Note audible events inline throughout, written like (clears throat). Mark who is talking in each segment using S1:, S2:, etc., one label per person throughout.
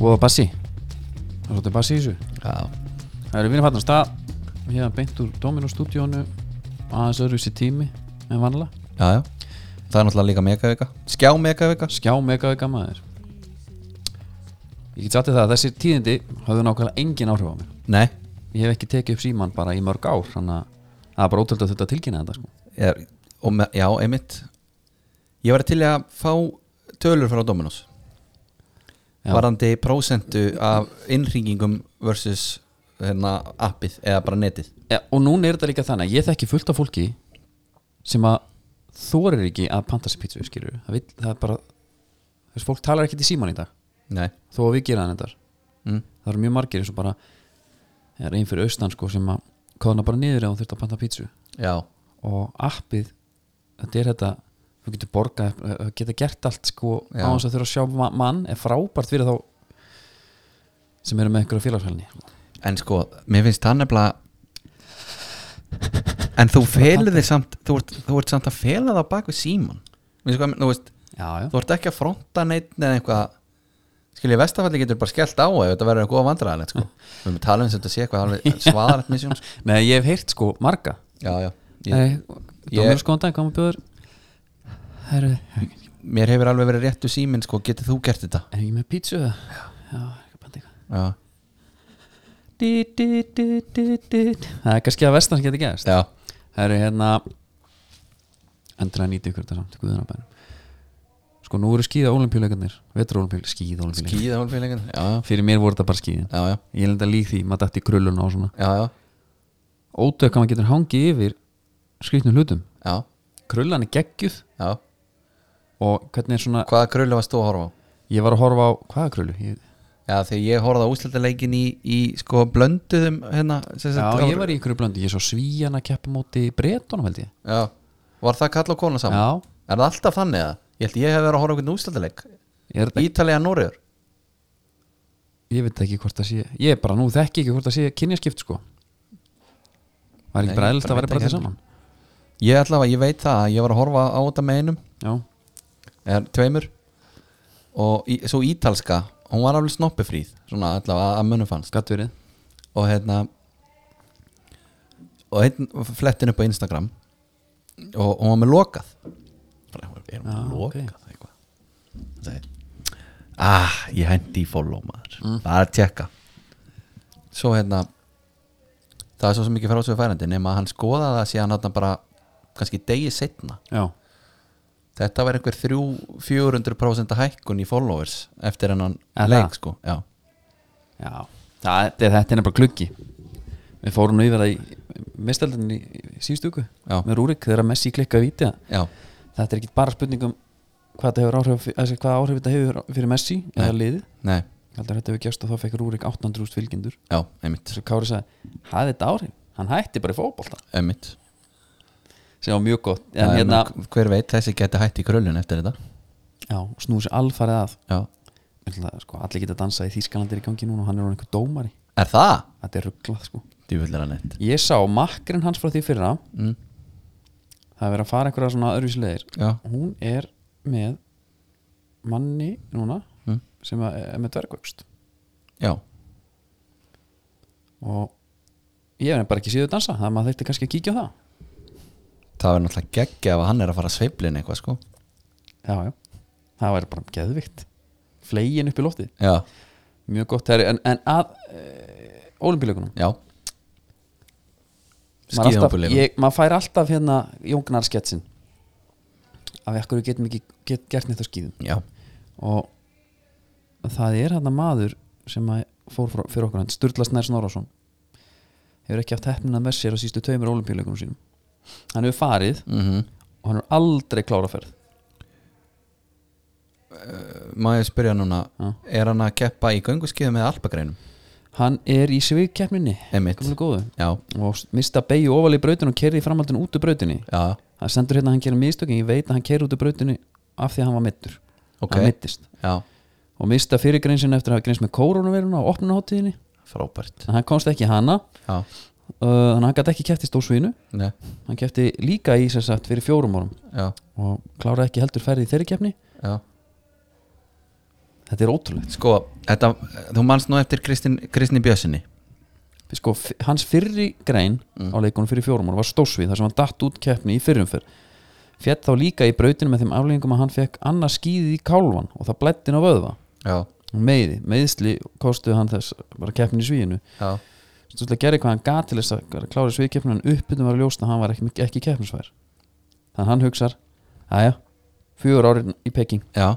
S1: og bassi það er svolítið bassi í þessu
S2: Já,
S1: það eru vinni fattin á stað hérna beint úr Dominó stúdíónu aðeins öðruvísi tími en vanlega
S2: já, já Það er náttúrulega líka megavika Skjá megavika
S1: skjá megavega maður ég get sagt þér það að þessi tíðindi hafðu nákvæmlega engin áhrif á mér
S2: Nei,
S1: ég hef ekki tekið upp síman bara í mörg ár þannig að það er bara ótrúlega þetta tilkynna þetta sko.
S2: er, og með, já, einmitt Ég var til í að fá tölur frá Dominos
S1: Já.
S2: Varandi prósentu af innringingum versus hérna, appið eða bara netið
S1: ja, og núna er þetta líka þannig að ég þekki fullt af fólki sem að þorir ekki að panta sér pítsu skilur það, vill, það er bara þess fólk talar ekkert í síman í dag
S2: Nei,
S1: þó að við gera þannig þetta
S2: mm.
S1: það eru mjög margir eins og bara er einn fyrir austan sko sem að kóðna bara niður eða hún þurft að panta pítsu
S2: já,
S1: og appið þetta er þetta þú getur borgað, eh, geta gert allt sko
S2: Já.
S1: á þess að þurfa að sjá ma- mann er frábært fyrir þá sem eru með einhverja félagsfælni
S2: en sko, mér finnst það nefnilega En þú felur þig samt þú ert, þú ert samt að fela það á bak við síman Mér sko, þú veist
S1: já, já,
S2: þú ert ekki að fronta neitt eða eitthvað skilja, vestafalli getur bara skellt á ef þetta verður eitthvað vandræðanett sko. við erum að tala um þess að þetta sé eitthvað alveg svaðarætt misjón sko.
S1: nei ég hef heyrt sko marga
S2: já, já, ég,
S1: Nei, Dómur skoðan dag, hvað maður bjóður Herru, er
S2: mér hefur alveg verið réttu síminn sko, getur þú gert þetta
S1: ekki með pítsu það? Já, ekki bandi eitthvað
S2: já,
S1: Dí, dí, dí, dí, dí. Það er kannski að vestan sem getur gerst
S2: já,
S1: Herru, hérna Endur að nýta ykkur þetta samt, guðan á bænum Sko, nú eru skíða olimpíuleikarnir Vetur olimpíuleikar, skíða olimpíuleikar
S2: skýða hálfélagin já,
S1: Fyrir mér voru þetta bara skíðin
S2: já, já,
S1: Ég lenda lík því, maður dætti í krulluna og svona
S2: já, já,
S1: Ótökk að maður getur hangið yfir skrýtnum hlutum
S2: já,
S1: Krullan er geggjuð
S2: já.
S1: og hvernig er svona
S2: hvaða krullu varst þú að horfa á? Já,
S1: Ég var að horfa á, hvaða krullu? Ég,
S2: þegar ég horfði á úsletaleikin í, í sko blönduðum hérna sem sagt,
S1: Já, ég var í einhverju blöndu, ég svo svíjan að keppa móti breytunum held ég
S2: já, var það kall og kona saman?
S1: Já,
S2: Er það alltaf þannig að? Ég held ég hef verið að horfa á einhvern úsletaleik
S1: er, ég,
S2: Ítalija Nóriður
S1: ég veit ekki hvort það sé Ég bara nú þekki ekki hvort það sé kynjaskipt sko Var
S2: Nei,
S1: ekki bara
S2: ég
S1: eðlst
S2: bara
S1: að vera
S2: veit
S1: bara
S2: ekki
S1: til saman
S2: Ég allavega, ég veit það, að ég var að horfa á þetta með einum
S1: Já,
S2: er tveimur og í, svo ítalska, hún var alveg snoppifríð svona allavega að munum fannst
S1: skatt verið
S2: og hérna og hérna flettin upp á Instagram og og hún var með lokað bara, er hún
S1: Já,
S2: með
S1: ok.
S2: lokað eitthvað Það segir, ah, ég hendi í follow maður bara að tjekka svo hérna það er svo sem ekki frá svo færandi nema að hann skoðaði það síðan hann bara kannski degi setna
S1: Já,
S2: þetta var einhver 300-400% hækkun í followers eftir hennan
S1: Er það?
S2: leik sko já,
S1: já það, þetta, er- þetta er bara kluggi Við fórum nú yfir það í mestaldinni í síðustu viku
S2: Já.
S1: með Rúrik þegar að Messi klikka að víti
S2: já,
S1: Þetta er ekki bara spurning um hvað þetta hefur áhrif, þessi, hvað áhrif þetta hefur fyrir Messi eða liðið.
S2: nei,
S1: Ég held að þetta hefur gæst og þá fekk Rúrik 800.000 fylgjendur
S2: já, einmitt
S1: þess að Kári sagði, hafði þetta áhrif hann hætti bara í fótbolta
S2: einmitt
S1: sem var mjög gott en
S2: Það er
S1: hérna,
S2: nú- hver veit þessi geti hætt í kröllun eftir þetta
S1: já, snúið sér alfarið að
S2: já.
S1: Ætla, sko, allir geta dansað í Þýskalandi er í gangi núna og hann er hann einhver dómari
S2: er það?
S1: þetta er rugglað sko
S2: djúvillir hann eitt
S1: ég sá makrin hans frá því fyrra
S2: mm.
S1: það er verið að fara einhverja svona öðruvísleðir
S2: já,
S1: hún er með manni núna
S2: Mm.
S1: sem að- er með dvergvöxt
S2: já,
S1: og ég hef bara ekki síðu að dansa það maður þekkti kannski að kíkja á það
S2: það verður náttúrulega geggja ef hann er að fara að sveiflin eitthvað sko
S1: já, já, það væri bara geðvikt flegin upp í loftið
S2: já,
S1: Mjög gott herri, en, en að e, olimpíuleikunum
S2: já
S1: Maður alltaf-
S2: skíðanbúleikum
S1: ég- maður fær alltaf hérna jógnarsketsin af ekkur við getum ekki get, gert neitt á skíðum
S2: já,
S1: og það er hérna maður sem að fór frá, fyrir okkur hann Sturla Snær Snorason hefur ekki haft hefnina með sér á sístu tveimur olimpíuleikunum sínum hann hefur farið
S2: mm
S1: og hann hefur aldrei klára ferð
S2: má ég spyrja núna
S1: Já.
S2: er hann að keppa í gönguskiðum með alpagreinum
S1: hann er í svigkeppninni
S2: einmitt,
S1: komlega góðu
S2: já,
S1: og mista beigju ofal í brautinu og kerði í framhaldinu út úr brautinni
S2: já
S1: það sendur hérna að hann gerir mistökin ég veit að hann keir út úr brautinu af því að hann var mittur
S2: ok,
S1: hann mittist
S2: já,
S1: og mista fyrirgreinsin eftir að hafa greinst með kórónuveruna á opnunaháttíðinni
S2: frábært
S1: en hann komst ekki í hana uh,
S2: já,
S1: þannig að hann gæti ekki kæft í stórsvínu
S2: nei,
S1: hann kæfti líka í sem sagt fyrir fjórum árum
S2: já,
S1: og kláraði ekki heldur ferði í þeirri keppni
S2: já
S1: þetta er ótrúlegt
S2: sko, þetta, þú manst nú eftir Kristin, Kristin Bjössinni
S1: sko, f- hans fyrri grein
S2: Mm.
S1: á leikunum fyrir fjórum ára var stórsvið þar sem hann datt út keppni í fyrrumferð fjall þá líka í brautinu með þeim afleggingum að hann fekk annað skýðið í kálvan og það blættin á vöðva
S2: já,
S1: Hún meiði, meiðsli kostuðu hann þess bara keppni í svíinu
S2: já,
S1: stúrlega gerði hvað hann gat til þess að klára sviðkeppnum en uppbytum var að ljósta að hann var ekki, ekki keppnisfær þannig hann hugsar aðja, fjögur árin í Peking
S2: já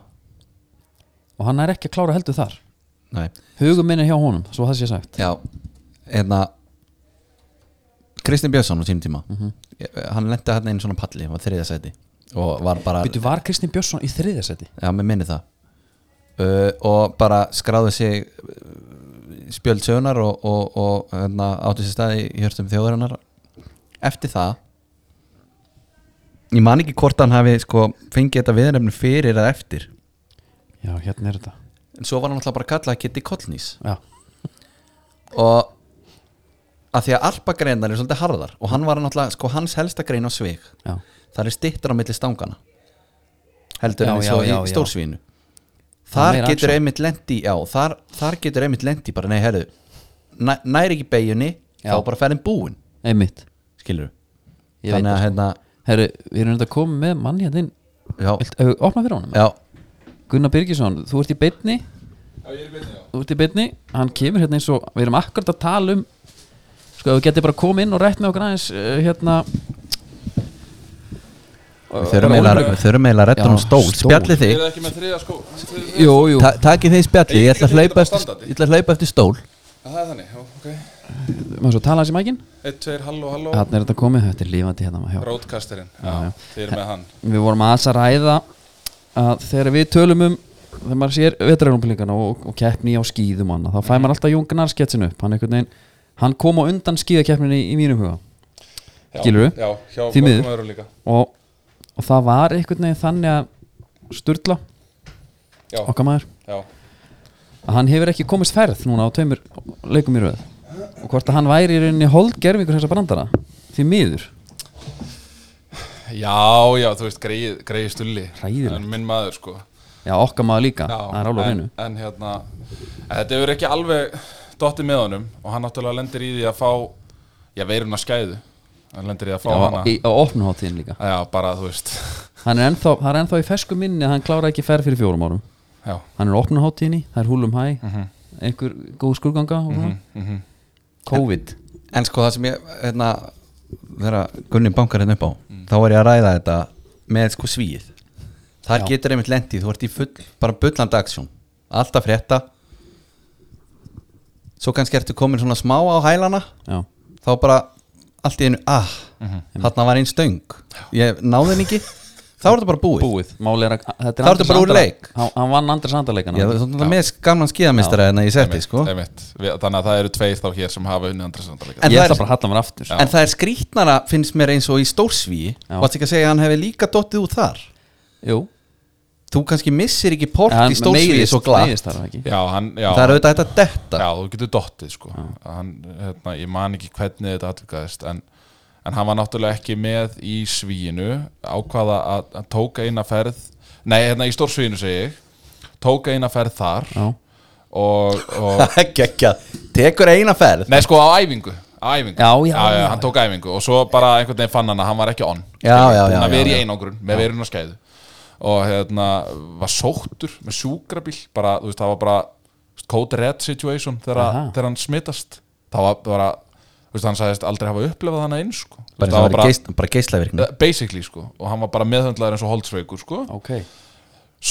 S1: og hann er ekki að klára heldur þar
S2: nei,
S1: hugum minn er hjá honum, svo það sé sagt
S2: já, hérna Kristin Björnsson á sínum tíma
S1: Mhm.
S2: hann lendi hérna inn í svona palli, hann var þriðja seti og var bara,
S1: Býtu, var Kristinn Björnsson í þriðasetti?
S2: já, mér minni það uh, og bara skráði sig uh, spjöld sögunar og, og, og hérna, átti sér staði í hjörstum þjóðurinnar eftir það ég man ekki hvort hann hafi sko, fengið þetta viðnefni fyrir eða eftir
S1: Já, hérna er þetta
S2: en svo var hann alltaf bara kallað Kitty Collins
S1: Já,
S2: og að því að alpagreinar er svolítið harðar og hann var náttúrulega, sko hans helsta grein á svig
S1: já
S2: þar er stittur á milli stangana heldur
S1: Já,
S2: en
S1: já,
S2: svo í
S1: já, já.
S2: stórsvínu
S1: Það er
S2: þar
S1: meira
S2: getur
S1: action.
S2: einmitt lendi já, þar, þar getur einmitt lendi bara, nei, herðu næ, nær ekki beigjunni,
S1: Já.
S2: þá bara ferðin búin
S1: Einmitt
S2: skilur
S1: Ég sko.
S2: þannig að hérna,
S1: Herru, við erum þetta að koma með mann hérna inn
S2: já,
S1: Vilt, ef við opna fyrir honum
S2: já
S1: Gunnar Birgisson, þú ert í beinni Þú ert í beinni, hann kemur hérna eins og Við erum akkurat að tala um Sko, ef við getum bara komið inn og rætt með okkur aðeins uh, Hérna
S2: við þurfum
S1: Bara
S2: eiginlega-
S1: Oliver-
S2: við þurfum eiginlega
S1: Já,
S2: að retta um stól,
S1: stól.
S2: spjallið
S3: Þið
S2: þig
S3: eruð ekki með sko. þriða skó þriðja-
S1: Jú, jú
S2: Ta takið þið spjallið, ég ætla að
S3: Ég- ég-
S2: hlaupa
S3: ég-
S2: eftir,
S3: standandi.
S2: ég ætla að hlaupa eftir stól
S3: Já, Það er þannig, já, ok
S1: Má svo tala hans í mækin
S3: Eitt, tveir, halló, halló
S1: Þarna er þetta komið, þetta er lífandi hérna hjá.
S3: Rótkasterinn,
S1: Já.
S3: já, þið eru með hann
S1: Við vorum aðeins að ræða að þegar við tölum um þegar maður sér vetrarjónpilingana og, og keppni á skíðum og annað, þá fær maður alltaf Jón Gunnar sketsin upp hann, einhvern veginn, hann kom á undan skíðakeppninni í mínum huga
S3: Já,
S1: Skilurðu?
S3: Já, hjá
S1: Því miður.
S3: mörgum öðru líka
S1: og, og það var einhvern veginn þannig að Sturla,
S3: Já,
S1: okkar maður
S3: já,
S1: að hann hefur ekki komist ferð núna á tveimur leikum í röð og hvort að hann væri í rauninni holdgerfingur þessa brandara því miður
S3: já, já, þú veist, greið, greið stulli
S1: Hræðilegt.
S3: En minn maður, sko
S1: já okkar maður líka,
S3: já,
S1: það er alveg
S3: en,
S1: hennu
S3: en hérna, en þetta hefur ekki alveg dottið með honum Og hann náttúrulega lendir í því að fá Já, veiruna skæðu Hann lendir í því að fá hana
S1: á, í- á opnuháttíðin líka
S3: Já, bara, þú veist (laughs)
S1: hann er ennþá, það er ennþá í fersku minni að hann klára ekki ferð fyrir fjórum árum
S3: Já,
S1: hann er opnum hátíðinni, það er húlum hæ
S2: Mhm.
S1: einhver góð skurganga og svona COVID
S2: En sko það sem ég hérna, þegar Gunni bankar hérna upp á þá var ég að ræða þetta með sko svíið þar
S1: Já.
S2: getur einmitt lendið, þú ert í full, bara bullandi aksjón alltaf frétta svo kannski ertu komin svona smá á hælana
S1: já,
S2: þá bara allt í einu ah, þarna var einn stöng ég náði henni ekki, þá er þetta bara búið,
S1: búið, máli er að þetta
S2: Þá ertu bara úr
S1: Andra-
S2: leik.
S1: hann, hann vann Andri Sandarleikan
S2: Ég, það er svona með gamlan skíðameistara en að ég setti sko
S3: einmitt Við- Þannig að það eru tveir þá hér sem hafa unnið andri samtalika
S2: En
S1: ég
S2: það
S1: ætla
S2: er-
S1: bara að halla mér aftur
S2: en það er skrítnara finnst mér eins og í stórsvíi
S1: Já.
S2: varst ekki að segja að hann hefði líka dottið út þar
S1: jú,
S2: þú kannski missir ekki port
S1: En hann
S2: í stórsvíði
S1: meiðist-
S2: svo glatt
S1: meiðist þar ekki
S3: Já, hann, já,
S2: það er auðvitað þetta detta
S3: Já, þú getur dottið sko hann, hérna, Ég man ekki hvernig þetta atvikaðist en, en hann var náttúrulega ekki með í svíinu ákvaða að, að tóka eina ferð Nei, hérna í stórsvíinu segi ég Tóka eina ferð þar
S1: Já.
S3: og, og
S2: (laughs) það er geggjað, tekur eina ferð
S3: Nei, sko á æfingu Á æfingu
S1: Já, já,
S3: já,
S1: já.
S3: Hann tók æfingu og svo bara einhvern veginn fann hann að hann var ekki on
S2: Já, já, já,
S3: Hann
S2: já,
S3: verið
S2: já.
S3: í einangrun með verun og skæðu Og hérna var sóttur með sjúkrabíl Bara, þú veist, það var bara Code red situation þegar,
S1: Aha.
S3: þegar hann smitast Það var bara, þú veist, hann sagðist aldrei hafa upplefað hana eins sko. Þú
S2: bara,
S3: veist,
S2: það var bara, geist, bara geislavirkni
S3: eh, Basically, sko Og hann var bara meðhöndlaður eins og holdsveikur, sko
S1: ok,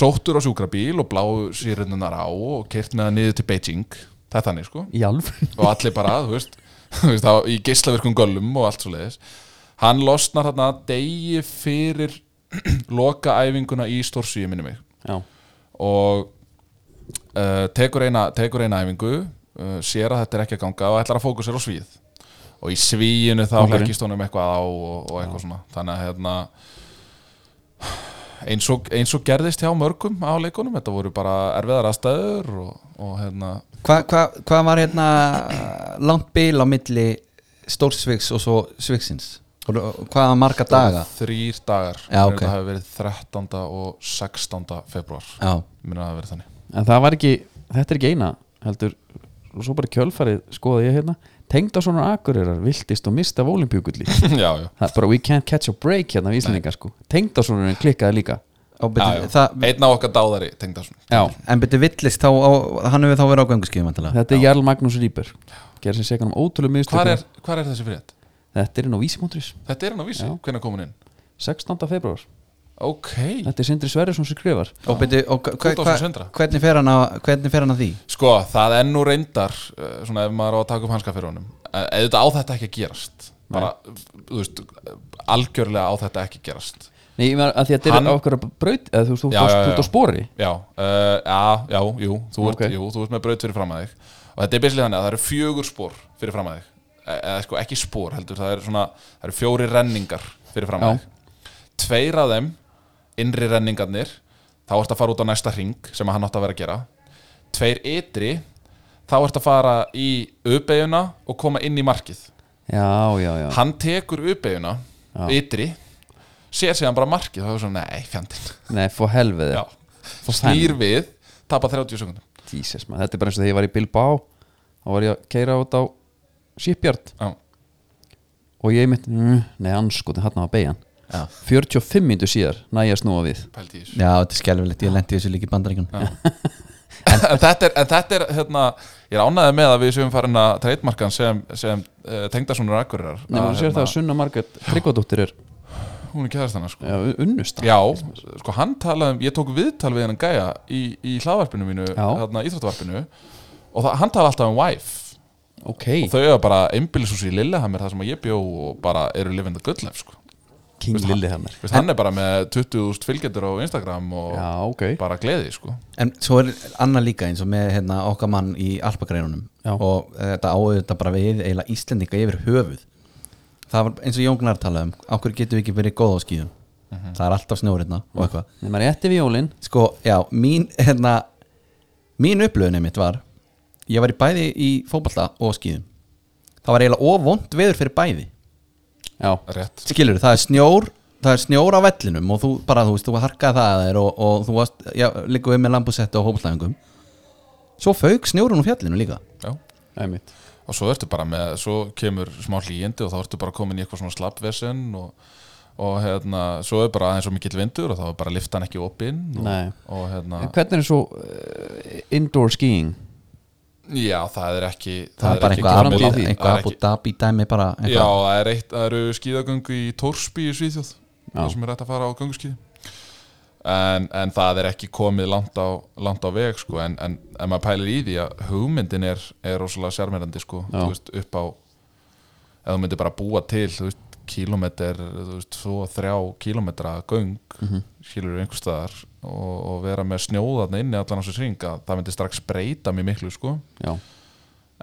S3: Sóttur á sjúkrabíl og blá sírunnar á Og keirt með hann niður til Beijing Það er þannig, sko
S1: í alf
S3: og allir bara, þú veist, (laughs) þú veist á, í geislavirkum göllum og allt svo leiðis hann losnar þarna degi fyrir (clears throat) lokaæfinguna í stórsvíu minni mig
S1: já,
S3: og uh, tekur, eina, tekur eina æfingu uh, sér að þetta er ekki að ganga og ætlar að fókusera á svíð og í svíinu þá
S1: Kóngurinn.
S3: hlækist honum eitthvað á og, og eitthvað svona þannig að hérna (sighs) eins og, eins og gerðist hjá mörgum á leikunum, þetta voru bara erfiðar aðstæður og, og hérna
S2: hvað hva, hva var hérna langt bil á milli stórsviks og svo sviksins og hvað var marga daga
S3: þrýr dagar
S2: Já,
S3: Ég held
S2: ok.
S3: að það hafi verið 13. og 16. februar
S2: já,
S3: minna að það hafi verið þannig
S1: en það var ekki, þetta er ekki eina heldur, og svo bara í kjölfarið skoða ég hérna, tengda svona akurirar viltist og mista af olimpíukulli
S3: já, já
S1: það er bara we can't catch a break hérna við Íslandingar sko, tengda svona klikkaði líka
S2: Á, beti,
S3: Já, já.
S2: það,
S3: Einn af okkar dáðari Tengdarsson
S1: já,
S2: en byrju villist þá, á, hann hefur þá verið á gönguskíðum vantilega
S1: þetta er Jarl Magnús Rýber gerir sér segan um ótrúlega
S3: Hvar
S1: miðstökum
S3: er, hvar er þessi frétt?
S1: þetta er inn á vísimóndris,
S3: Þetta er hann á vísi,
S1: Já.
S3: hvenær kom hún inn?
S1: 16. februar
S3: Ok,
S1: þetta er Sindri Sverjesson sem skrifar
S2: og byrju, og hva,
S3: Út á
S2: hva,
S3: sem sendra.
S2: hvernig fer hann að hvernig fer hann að því?
S3: sko, það er nú reyndar eh, svona ef maður á að taka upp hanska fyrir honum eh, eða þetta á þetta ekki að gerast bara, þú veist, algjörlega á þetta ekki að gerast
S1: Nei, ég meina að því að þetta
S3: Hann-
S1: er á okkur braut eða þú veist, þú
S3: Já, já, já.
S1: ert á spori
S3: Já, uh, já, já, jú þú,
S1: Ok.
S3: ert, jú þú ert með braut fyrir fram að þig og þetta er byrjulega þannig að það eru fjögur spór fyrir fram að þig E- eða sko ekki spór heldur, það eru svona það eru fjóri renningar fyrir fram
S1: Já.
S3: að þig tveir af þeim, innri renningarnir þá ert að fara út á næsta ring sem að hann átt að vera að gera tveir ytri, þá ert að fara í uppeyjuna og koma inn í markið
S1: Já, já, já
S3: hann tekur uppeyjuna,
S1: Já.
S3: ytri sér sig hann bara markið þá er svona, nei, fjandinn
S1: Nei, fó helviði
S3: Já. snýr við, tapa 30 sekundum
S1: Jesus, man, Þetta er bara eins og þegar ég var í Bilbao þá var ég að keira út á shipyard
S3: Já.
S1: og ég mitt, mm, nei anskotin, hann var beigjan
S2: Já.
S1: 45 minntu síðar næja snúa við
S3: pældi í þessu.
S2: Já, þetta er skelfilegt, ég lendi í þessu líki bandaríkun
S3: en þetta er, en þetta er hérna, ég er ánæðið með að við séum farin að treytmarkan sem, sem uh, tengdarsonur akkurirar
S1: Nei, maður sér það að Sunna Margrét Tryggvadóttir er
S3: hérna, hún er kæðast hana sko
S1: já, unnust
S3: Já, sko hann talaði um, ég tók viðtal við hennan gæja í, í hlaðvarpinu mínu,
S1: Já.
S3: þarna íþróttvarpinu og það, hann talaði alltaf um wife
S1: Ok,
S3: og þau eru bara einbýlisús í Lillehammer þar sem að ég bjó og bara eru living the good life sko.
S1: King
S3: veist,
S1: Lillehammer
S3: Vist, hann er bara með 20.000 fylgjendur á Instagram og
S1: Já, ok
S3: bara gleði sko.
S2: En svo er annað líka eins og með hérna, okkar mann í alpagreinunum
S1: Já.
S2: og eh, þetta áður bara við eiginlega Íslendinga yfir höfuð það var eins og Jóngnar talaði um okkur getum við ekki verið góð á skýðum það er alltaf snjóriðna og eitthvað
S1: Nei, maður er eftir við jólin
S2: sko, já, mín hérna, mín upplöðunni mitt var ég var í bæði í fótballta og skýðum það var eiginlega óvond veður fyrir bæði
S1: Já,
S3: rétt
S2: skilur, það er snjór það er snjór á vellinum og þú bara, þú veist, þú harkaði það að þér og, og þú varst, já, líka við með lambusetti og hópaslæðingum svo fauk snjórun úr fjallinu líka
S3: Já.
S1: einmitt
S3: og svo ertu bara með, svo kemur smá hlýjandi og þá ertu bara komin í eitthvað svona slappvesen og, og hérna svo er bara aðeins svo mikill vindur og þá er bara liftan ekki opinn
S1: Nei.
S3: og, og hérna,
S1: En hvernig er svo uh, indoor skiing?
S3: já það er ekki það,
S2: það er bara
S3: ekki
S2: eitthvað
S1: framtíð
S3: komið
S1: í
S2: Abu-
S1: því.
S3: Það
S2: eitthvað
S3: er
S2: Abu
S3: ekki-
S2: Dhabi dæmi bara
S3: Já,
S2: eitthvað.
S3: það er eitt, það eru skíðagöngu í Tórsby í Svíþjóð
S1: Já.
S3: það sem er rætt að fara á gönguskíði en, en það er ekki komið langt á, langt á veg sko, en, en, en maður pælir í því að hugmyndin er, er rosalega sérmerandi sko,
S1: Já.
S3: þú veist, upp á ef þú myndir bara búa til þú veist, kilometr, þú veist, þú og þrjá kilometra göng mm
S1: Mhm.
S3: -hmm. skilur einhvers staðar og, og vera með snjóðarna inni allan á þessu sringa það myndi strax breyta mjög miklu sko
S1: Já,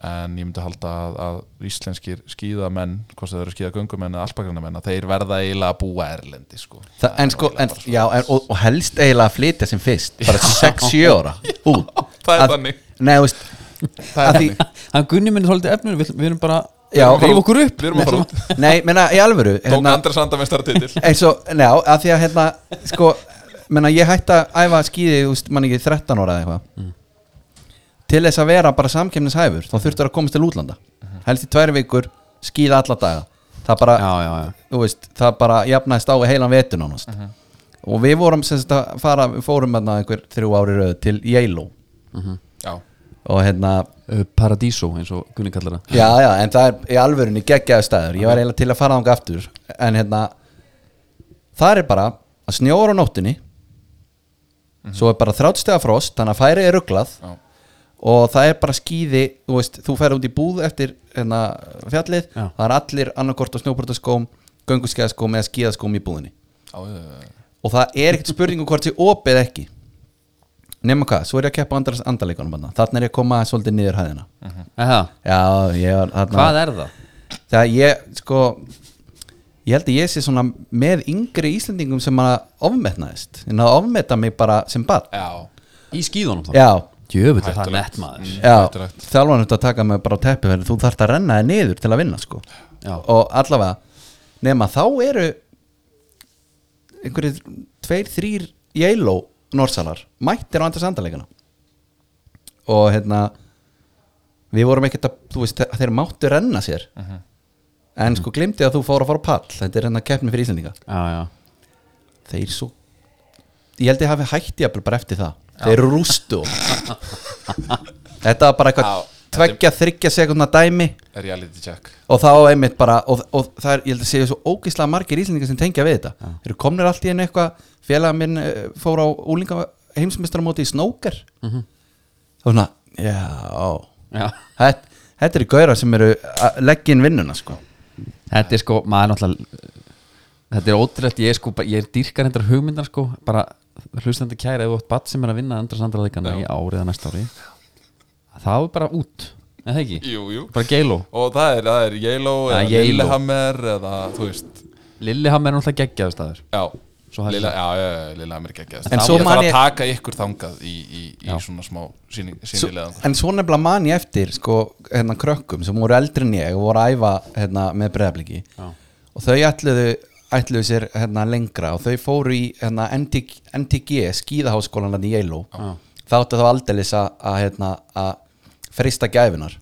S3: en ég myndi halda að, að íslenskir skíðamenn, hvort sem þeir eru skíðagöngumenn eða alpagrannamenn, að þeir verða eiginlega að búa erlendi sko.
S2: Það, en sko, en, já, en, og, og helst eiginlega að flytja sem fyrst bara 6-7 ára út
S3: það er
S2: Að-
S3: þannig.
S2: Nei, þú veist
S3: Það
S2: að
S3: er
S2: því,
S3: þannig.
S1: hann Gunni minn er svolítið efnur við, við erum bara,
S2: Já.
S1: rýf okkur upp
S3: Við erum að fara út,
S2: Nei, menna, í alvöru
S3: tók
S2: hérna,
S3: andra sanda með startitil
S2: (laughs) eins og, já, að því að hérna, sko, menna, ég hætti að æfa að skýði, þú veist, mann ekki 13 ára eða eitthvað til þess að vera bara samkemnishæfur þá þurftur að komast til útlanda helst í tvær vikur, skýða alla daga það bara,
S1: (laughs) Já, já, já
S2: þú veist, það bara jafnaðist á við heilan vetun ánast og við vorum, sem sagt, að fara við fórum hérna einhver þrjú ári rauð til Yale
S3: Já,
S2: og hérna,
S1: Uh, Paradiso eins og Gunni kallar það
S2: Já, já, en það er í alvörunni geggjaðu staður Ég var eiginlega til að fara þangað aftur En hérna Það er bara að snjóra á nóttinni Svo er bara þrátstega frost Þannig að færi er ruglað
S3: já,
S2: Og það er bara skýði Þú veist, þú færi út í búð eftir hérna, fjallið
S1: Já.
S2: Það er allir annarkort á snjóportaskóm Gönguskeðaskóm eða skíðaskóm í búðinni
S3: já, já,
S2: Og það er ekkert spurning um hvort sé opið eða ekki Nefna hvað, svo er ég að keppa andars andarleikunum Þannig er ég að koma svolítið niður hæðina
S1: Mm. Aha,
S2: Já, ég var þarna
S1: Mhm. Hvað er það?
S2: Það ég, sko Ég held að ég sé svona með yngri Íslendingum sem að ofmetnaðist en að ofmeta mig bara sem bad
S3: já.
S1: Í skíðunum þá?
S2: Já,
S1: Jöfull er það
S3: Hættulegt.
S1: nett maður
S2: já
S3: Hættulegt.
S2: þjálfanum þetta að taka mig bara á teppi fyrir þú þarft að renna þig niður til að vinna sko
S1: Já.
S2: og allavega nema þá eru einhverjir tveir, þrýr Yellow norsalar mættir á andra sandarleikana og hérna við vorum ekkert að, þú veist, að þeir máttu renna sér en sko glimti að þú fór að fara á pall þetta er hérna keppni fyrir Íslandinga
S1: já, já
S2: þeir svo ég held ég hafi hætti jafnvel bara eftir það þeir rústu okkur. þetta var bara eitthvað
S3: Já, þetta er-
S2: tveggja, þryggja sekundna dæmi
S3: Reality check
S2: og þá einmitt bara og, og það er, ég held að séu svo ógislega margir íslendingar sem tengja við þetta þeir eru komnir allt í einu eitthvað félaga minn eh, fór á úlinga heimsmeistaramóti í snóker
S3: Mhm.
S2: þá svona, já
S1: Já.
S2: þetta, þetta eru gauðra sem eru að leggja inn vinnuna sko
S1: Þetta er sko, maður er náttúrulega Þetta er ótrúlegt, ég er sko, bara- ég er dýrkar hendar hugmyndar sko, bara hlustandi kæra ef þú átt batt sem er að vinna andra sandraðikana í árið eða næsta ári Það er bara út, eða ekki?
S3: Jú, jú
S1: Bara geiló
S3: Og það er, það er Yellow
S1: Það
S3: eða
S1: er Yellow.
S3: Lillehammer eða þú veist
S1: Lillihammer er náttúrulega geggjaður staður
S3: Já,
S1: Svo hægt
S3: Lilla, já, já, já, Lillehammer er geggjast
S2: En
S3: Það
S2: svo
S3: ég
S2: man
S3: þarf
S2: ég-
S3: að taka ykkur þangað í, í, í
S1: Já.
S3: svona smá síni,
S2: Svo-
S3: sínilegan
S2: en svo nefnilega man ég eftir sko, hérna krökkum sem voru eldri en ég og voru að æfa hérna, með breðabliki
S1: Já.
S2: og þau ætluðu, ætluðu sér hérna, lengra og þau fóru í hérna, NTG, NTG skíðaháskólan hérna í Yellow þá áttu þá aldeilis að, að, hérna, að frista gæfinar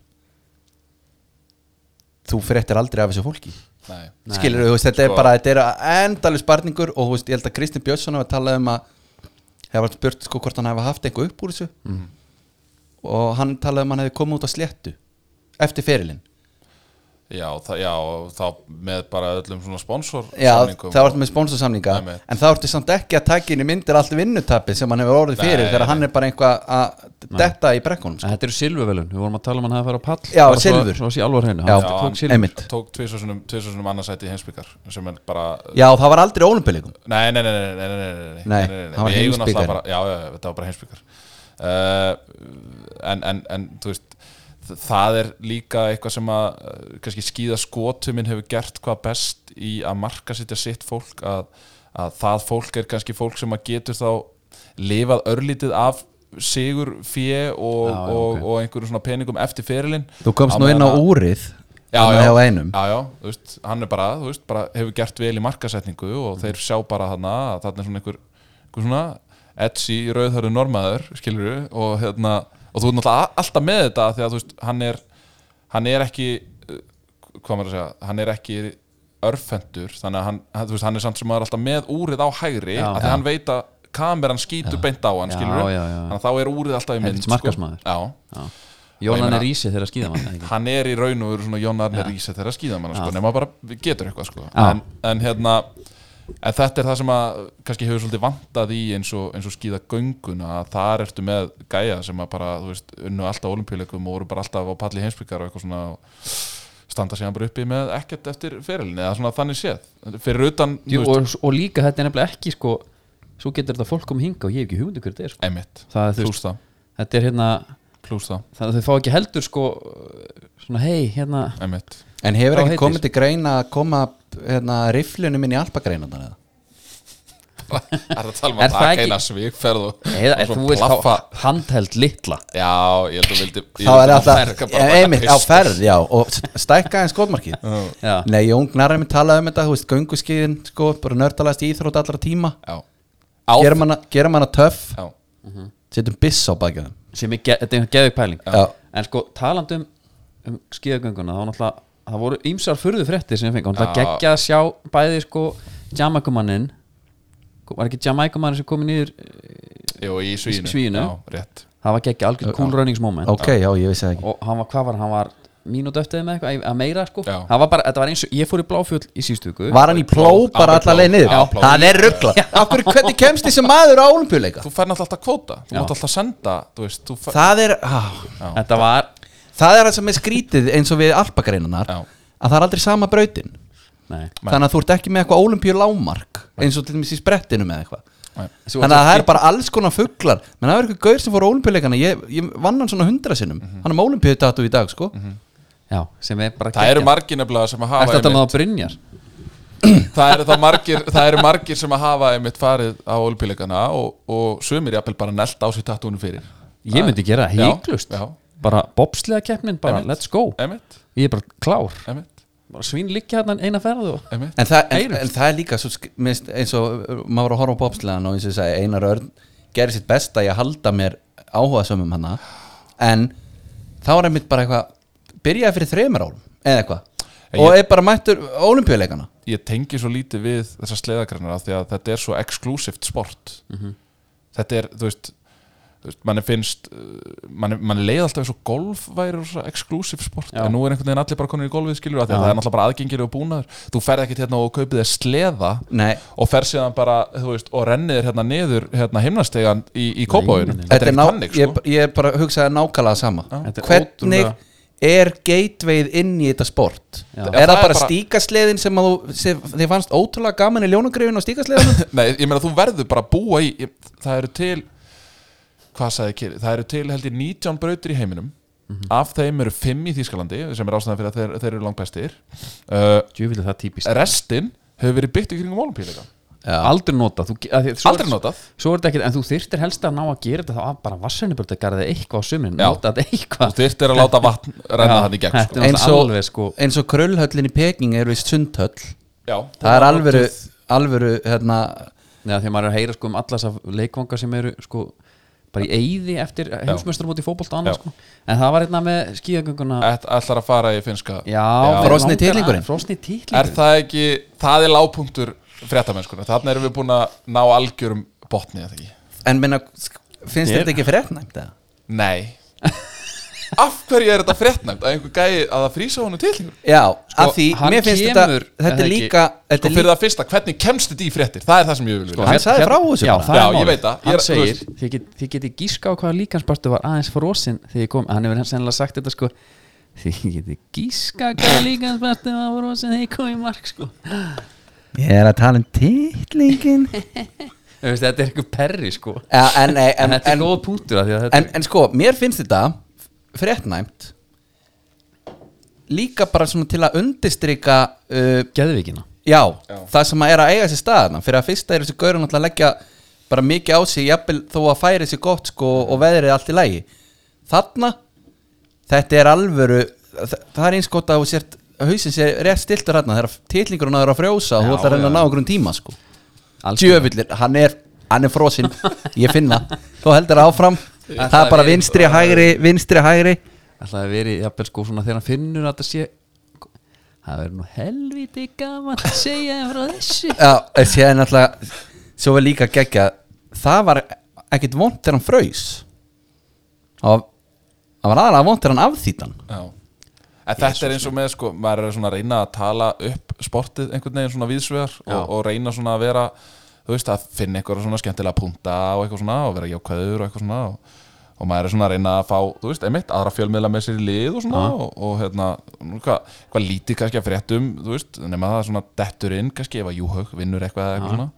S2: þú fréttir aldrei af þessu fólki
S3: Nei
S1: Nei.
S2: skilur þú veist, þetta
S3: Sko.
S2: er bara þetta er endalus barningur og þú veist, ég held að Kristinn Björnsson hafa talað um að hefur hann spurt sko hvort hann hefði haft eitthvað upp úr þessu
S3: Mhm.
S2: og hann talaði um að hann hefði komið út á sléttu eftir ferilinn
S3: Já, það, já, og þá með bara öllum svona sponsor
S2: Já,
S3: samningum.
S2: það var með sponsorsamninga
S3: Einmitt.
S2: en það vartu samt ekki að taka inn í myndir allt vinnutapi sem hann hefur orðið
S3: Nei,
S2: fyrir þegar
S3: nei.
S2: hann er bara einhvað að detta í brekkunum sko.
S1: En Þetta eru silfurvelun, við vorum að tala um hann að fara á pall
S2: Já,
S1: bara
S2: silfur.
S1: Svo, svo sé alvar hennu,
S2: Já,
S1: hann tók
S3: hann-
S1: silfur
S2: einmitt.
S3: Tók tvisvarsunum, tvisvarsunum annarsæti í heimsbyggar sem er bara
S2: Já, það var aldrei ólumpilikum
S3: Nei, nei, nei, nei, nei, nei, nei, nei,
S2: Nei, hann var
S3: Við eigum náttúrulega
S2: heimsbikari.
S3: bara, já, já, já, þetta var bara heimsbyggar uh, en, en, en, þú veist þ- það er líka eitthvað sem að eh, kannski skýða skotuminn hefur gert hvað best í að marka sitja sitt fólk að, að það fólk er kannski fólk sem að getur þá lifað örlítið af sigur fjö og,
S1: Já, já,
S3: og,
S1: ok.
S3: og einhverjum svona peningum eftir ferilinn
S2: Þú komst nú inn á
S3: meðan að-
S2: úrið
S3: Já,
S2: þarna
S3: já.
S2: hjá einum
S3: Já, já, þú veist, hann er bara, þú veist, bara hefur gert vel í markasetningu og þeir sjá bara þarna að þarna er svona einhver, einhver svona edsi rauðhörðu normaður, skilur og hérna, og þú er náttúrulega alltaf með þetta af því að þú veist, hann er hann er ekki, uh, hvað maður að segja hann er ekki örfendur þannig að hann, hann- þú veist, hann er samt sem maður alltaf með úrið á hægri,
S1: Já.
S3: af því að hann veit að kameran skýtur beint á hann,
S1: Já,
S3: skilur
S1: já, já.
S3: þannig að þá er úrið alltaf í mynd sko.
S1: Helvítis markaðsmaður.
S3: Já,
S1: Jónan
S3: meina-
S1: er ísi þegar að skýða mann
S3: (laughs)
S1: ekki?
S3: hann er í raun og veru svona Jón Arne Ríse þegar að skýða manna sko, nema bara við getur eitthvað sko.
S1: Já.
S3: en, en hérna en þetta er það sem að kannski hefur svolítið vantað í eins og, eins og skýða gönguna að þar ertu með gæja sem að bara þú veist, unnu alltaf olimpíuleikum og voru bara alltaf á palli heimsbyggar og eitthvað svona og standa síðan bara uppi með ekkert eftir fyrirlinni eða svona þannig séð fyrir utan,
S1: Jú, og, og líka þetta er nefnilega ekki sko, svo getur þetta fólk komið hinga og ég hef ekki hugmyndu hver þetta er sko.
S3: emitt,
S1: Það er þú
S3: plús
S1: veist,
S3: það
S1: þetta er hérna
S3: plús það,
S1: þannig að þau fá ekki heldur sko svona hei hérna
S3: emitt
S1: (laughs)
S2: En hefur
S1: Hvað
S2: ekki
S1: heitir?
S2: komið til greina að koma hérna, riflunum inn í alpagreinan eða?
S3: er það að tala um
S1: Er
S3: að
S1: það
S3: taka
S1: ekki-
S3: eina svíkferð og,
S1: eða
S3: og
S1: er þú
S3: svo
S1: veist
S3: plaffa
S1: þá handheld litla
S3: Já, ég held að vildi ég
S2: Þá er
S3: vildi
S2: alltaf,
S3: ferga
S2: ja,
S3: bara
S2: einmitt, á
S3: fyrst.
S2: ferð, já, og s- stækka en skotmarkið.
S1: Já.
S2: Nei, Jón Gnarri minn talaði um þetta, þú veist, gönguskiðin, sko, bara nördalast í íþrótt allra tíma.
S3: Já á,
S2: Gerum hana, gerum hana töff,
S3: já.
S2: setjum biss á bakið þeim.
S1: sem er, ge- þetta er geðug pæling
S2: Já.
S1: en sko talandi um, um skíðagönguna þá náttúrulega það voru ýmsar furðu fréttir sem ég fengi og náttúrulega
S3: Já.
S1: geggja að sjá bæði sko Jamaikumanninn var ekki Jamaikumanninn sem komið niður
S3: Jú, í svínu
S1: Svínu.
S3: Já, rétt
S1: það var geggja algjörn cool runnings moment
S2: Ok, já, ég vissi það ekki.
S1: og hann var, hvað var, hann? hann var mínútu eftir með eitthvað að meira sko
S3: Já.
S1: það var bara, þetta var eins og, ég fór í bláfjöld í síðustu viku
S2: Var hann í pló bara
S3: Alveg pló.
S2: allar leið niður?
S3: Já, pló.
S2: Hann er ruggla. Akkur, hvernig kemst þessi maður á olimpíuleika?
S3: Þú fær náttúrulega alltaf kvóta Þú mátt alltaf senda Þú veist, þú fær
S2: Það er, á,
S1: þetta var,
S2: það er það sem er skrítið eins og við alpagreinanar,
S3: Já.
S2: að það er aldrei sama brautin.
S1: nei
S2: þannig að þú ert ekki með eitthvað ólimpíu lámark eins og til dæmis í sprettinu með eitthvað
S3: Nei.
S2: þannig að það er bara alls konar fugglar menn það er eitthvað gaur sem fór ólimpíuleikana ég, ég vann hann svona hundra sinnum hann er með ólimpíu tatu í dag sko
S1: já, sem er bara
S3: Það eru
S1: geggjað.
S3: margir nefnilega sem að hafa
S1: Ertu að tala um
S3: einmitt-
S1: það Brynjar?
S3: það eru þá margir Það eru margir sem að hafa einmitt farið á olpíleikana og, og sömur jafnvel bara nelt á sér tattúinu fyrir
S1: Ég myndi gera það
S3: Já,
S1: heiklust
S3: já.
S1: Bara bobslega keppnin, bara
S3: Einmitt.
S1: let's go
S3: Emmett,
S1: Ég er bara klár
S3: Emmett,
S1: bara Svín liggja hérna eina ferð og
S3: Emmett
S2: en, það, en,
S1: Heyrumst.
S2: en það er líka svo, sk- minnst, eins og uh, maður var að horfa á popslegan og eins og ég segi Einar Örn gerir sitt besta í að halda mér áhuga sömum hana en þá er einmitt bara eitthvað byrjaði fyrir þreymur árum eða
S3: Ég-
S2: eitthvað og er bara mættur olimpíuleikana
S3: ég tengi svo lítið við þessar sleiðagreinar af því að þetta er svo exklusivt sport þetta er, þú veist, þú veist mann finnst uh, mann, mann leið alltaf eins og golf væri svo exklusivt sport
S1: Já.
S3: en nú er einhvern veginn allir bara konur í golfið skilur af því að
S1: Já.
S3: það er náttúrulega bara aðgengileg og búnaður þú ferð ekkert hérna og kaupið þér sleða
S2: Nei,
S3: og fer síðan bara, þú veist, og rennir þér hérna niður hérna himnastegan í, í kópáinu
S1: nei, nei.
S3: þetta er
S2: ná-
S3: ekki tannig, sko
S2: ég, ég er bara að hugsa nákvæmlega sama
S1: Þetta er
S2: Hvernig
S1: ótrúlega-
S2: er gateveið inn í þetta sport?
S1: Já.
S2: Er
S3: Já,
S2: það,
S3: það er
S2: bara
S3: bara-
S2: stíkasleðin sem að þú sem þið fannst ótrúlega gaman í ljónagreifinu og stíkasleðinu?
S3: Nei, ég meina þú verður bara að búa í ég, Það eru til Hvað sagði Kili? Það eru til held ég 19 brautir í heiminum
S1: Mhm.
S3: Af þeim eru 5 í Þýskalandi sem er ástæðan fyrir að þeir, þeir eru langbæstir uh,
S1: Djúvill er það típist
S3: Restin hefur verið byggt í kringum olimpíuleika
S2: Já,
S1: Aldrei nota þú, að, því- svo,
S3: Aldrei notað
S1: Svo er þetta ekkert En þú þyrtir helst að ná að gera þetta Þá að bara vassenniböldagarðið eitthvað á sumin
S3: Já.
S1: Nota þetta
S3: Þú
S1: eitthvað
S3: þyrftir að láta vatn renna
S1: Já,
S3: hann í gegn
S1: þetta
S3: sko.
S1: er
S2: eins og,
S1: alveg, sko.
S2: (laughs) eins og krullhöllin í Peking er vist sundhöll
S3: Já,
S2: Það er alvöru, alvöru hérna,
S1: Nei, því að maður er að heyra sko um allas af leikvanga sem eru sko bara í eyði eftir heimsmeistramóti í fótbolta og annað
S3: Já.
S1: sko en það var einna með skíðagönguna já,
S3: Ætt- Ætlar að fara í finska
S1: já.
S2: Frosni titlingurinn.
S1: frosni
S3: Er
S1: titlingurinn
S3: það ekki, það er lágpunktur fréttamennskunar, þannig erum við búin að ná algjörum botni eða ekki
S2: en minna, finnst
S1: Ég-
S2: þetta ekki fréttnæmt eða?
S1: (laughs)
S3: Nei Af hverju er þetta fréttnæmt að einhver gæi að það frísa honum til Sko
S2: Já, af því,
S1: hann
S2: mér finnst
S1: kemur-
S2: þetta þetta
S1: er Sko,
S2: er
S1: það
S2: líka, þetta er
S3: fyrir
S2: líka
S3: það fyrsta, hvernig kemst þetta í fréttir Það er það sem ég vil vilja
S2: Hann
S1: Hér-
S2: sagði
S1: hér-
S2: frá þessu
S1: hérna- já,
S2: bara.
S1: það er
S3: Já, ég
S1: málið.
S3: veit það. Ég
S1: hann
S3: er- þú
S1: segir,
S3: veist-
S1: þið get- þið getið giska á hvaða líkanspartu var aðeins frosin þegar ég kom, hann hefur sennilega sagt þetta sko þið getið giska á
S3: (laughs)
S1: hvaða líkanspartu var frosin þegar ég kom í mark sko
S2: Ég er að tala um titlingin
S1: Þú veist, þetta er eitthvað perri sko
S2: Já, en, nei, en,
S1: en þetta er
S2: en,
S1: góð punktur af því að þetta
S2: en, en sko, mér finnst þetta fréttnæmt líka bara svona til að undistrika uh,
S1: er geðvikina
S2: já,
S3: Já.
S2: það sem að er að eiga sér staðna fyrir að fyrsta er þessi gaur náttúrulega að leggja bara mikið á sig, jafnvel þó að færi sér gott sko og veðrið allt í lægi þarna, þetta er alvöru það, það er eins gott að þú sért að hausin sér rétt stiltur hérna þegar titlingurinn að það er að frjósa og
S1: Já,
S2: þú ætlar að reyna að
S1: já.
S2: ná okkur um tíma sko
S1: Alls
S2: Djöfullir, hann er, hann er frosinn Ég finna, þú heldur áfram Það er bara vinstri, hægri, vinstri, hægri
S1: Það hefði verið, jafnvel sko svona þegar hann finnur að þetta sé Það verður nú helviti gaman að segja þér frá þessu
S2: (laughs) Já, en síðan alltaf Svo var líka geggja Það var ekkert vont þegar hann fraus Það var- það var aðalega vont þegar hann afþýtan
S3: Já. En þetta er eins og með sko, maður er svona að reyna að tala upp sportið einhvern veginn svona viðsvegar og, og reyna svona að vera þú veist að finna einhverja svona skemmtilega punta og eitthvað svona og vera jákvæður og eitthvað svona og, og maður er svona að reyna að fá þú veist, einmitt, aðra fjölmiðla með sér í lið og svona og, og hérna, nú hvað hva lítið kannski að fréttum, þú veist, nema það svona dettur inn kannski ef að Júhaug vinnur eitthvað eða eitthvað svona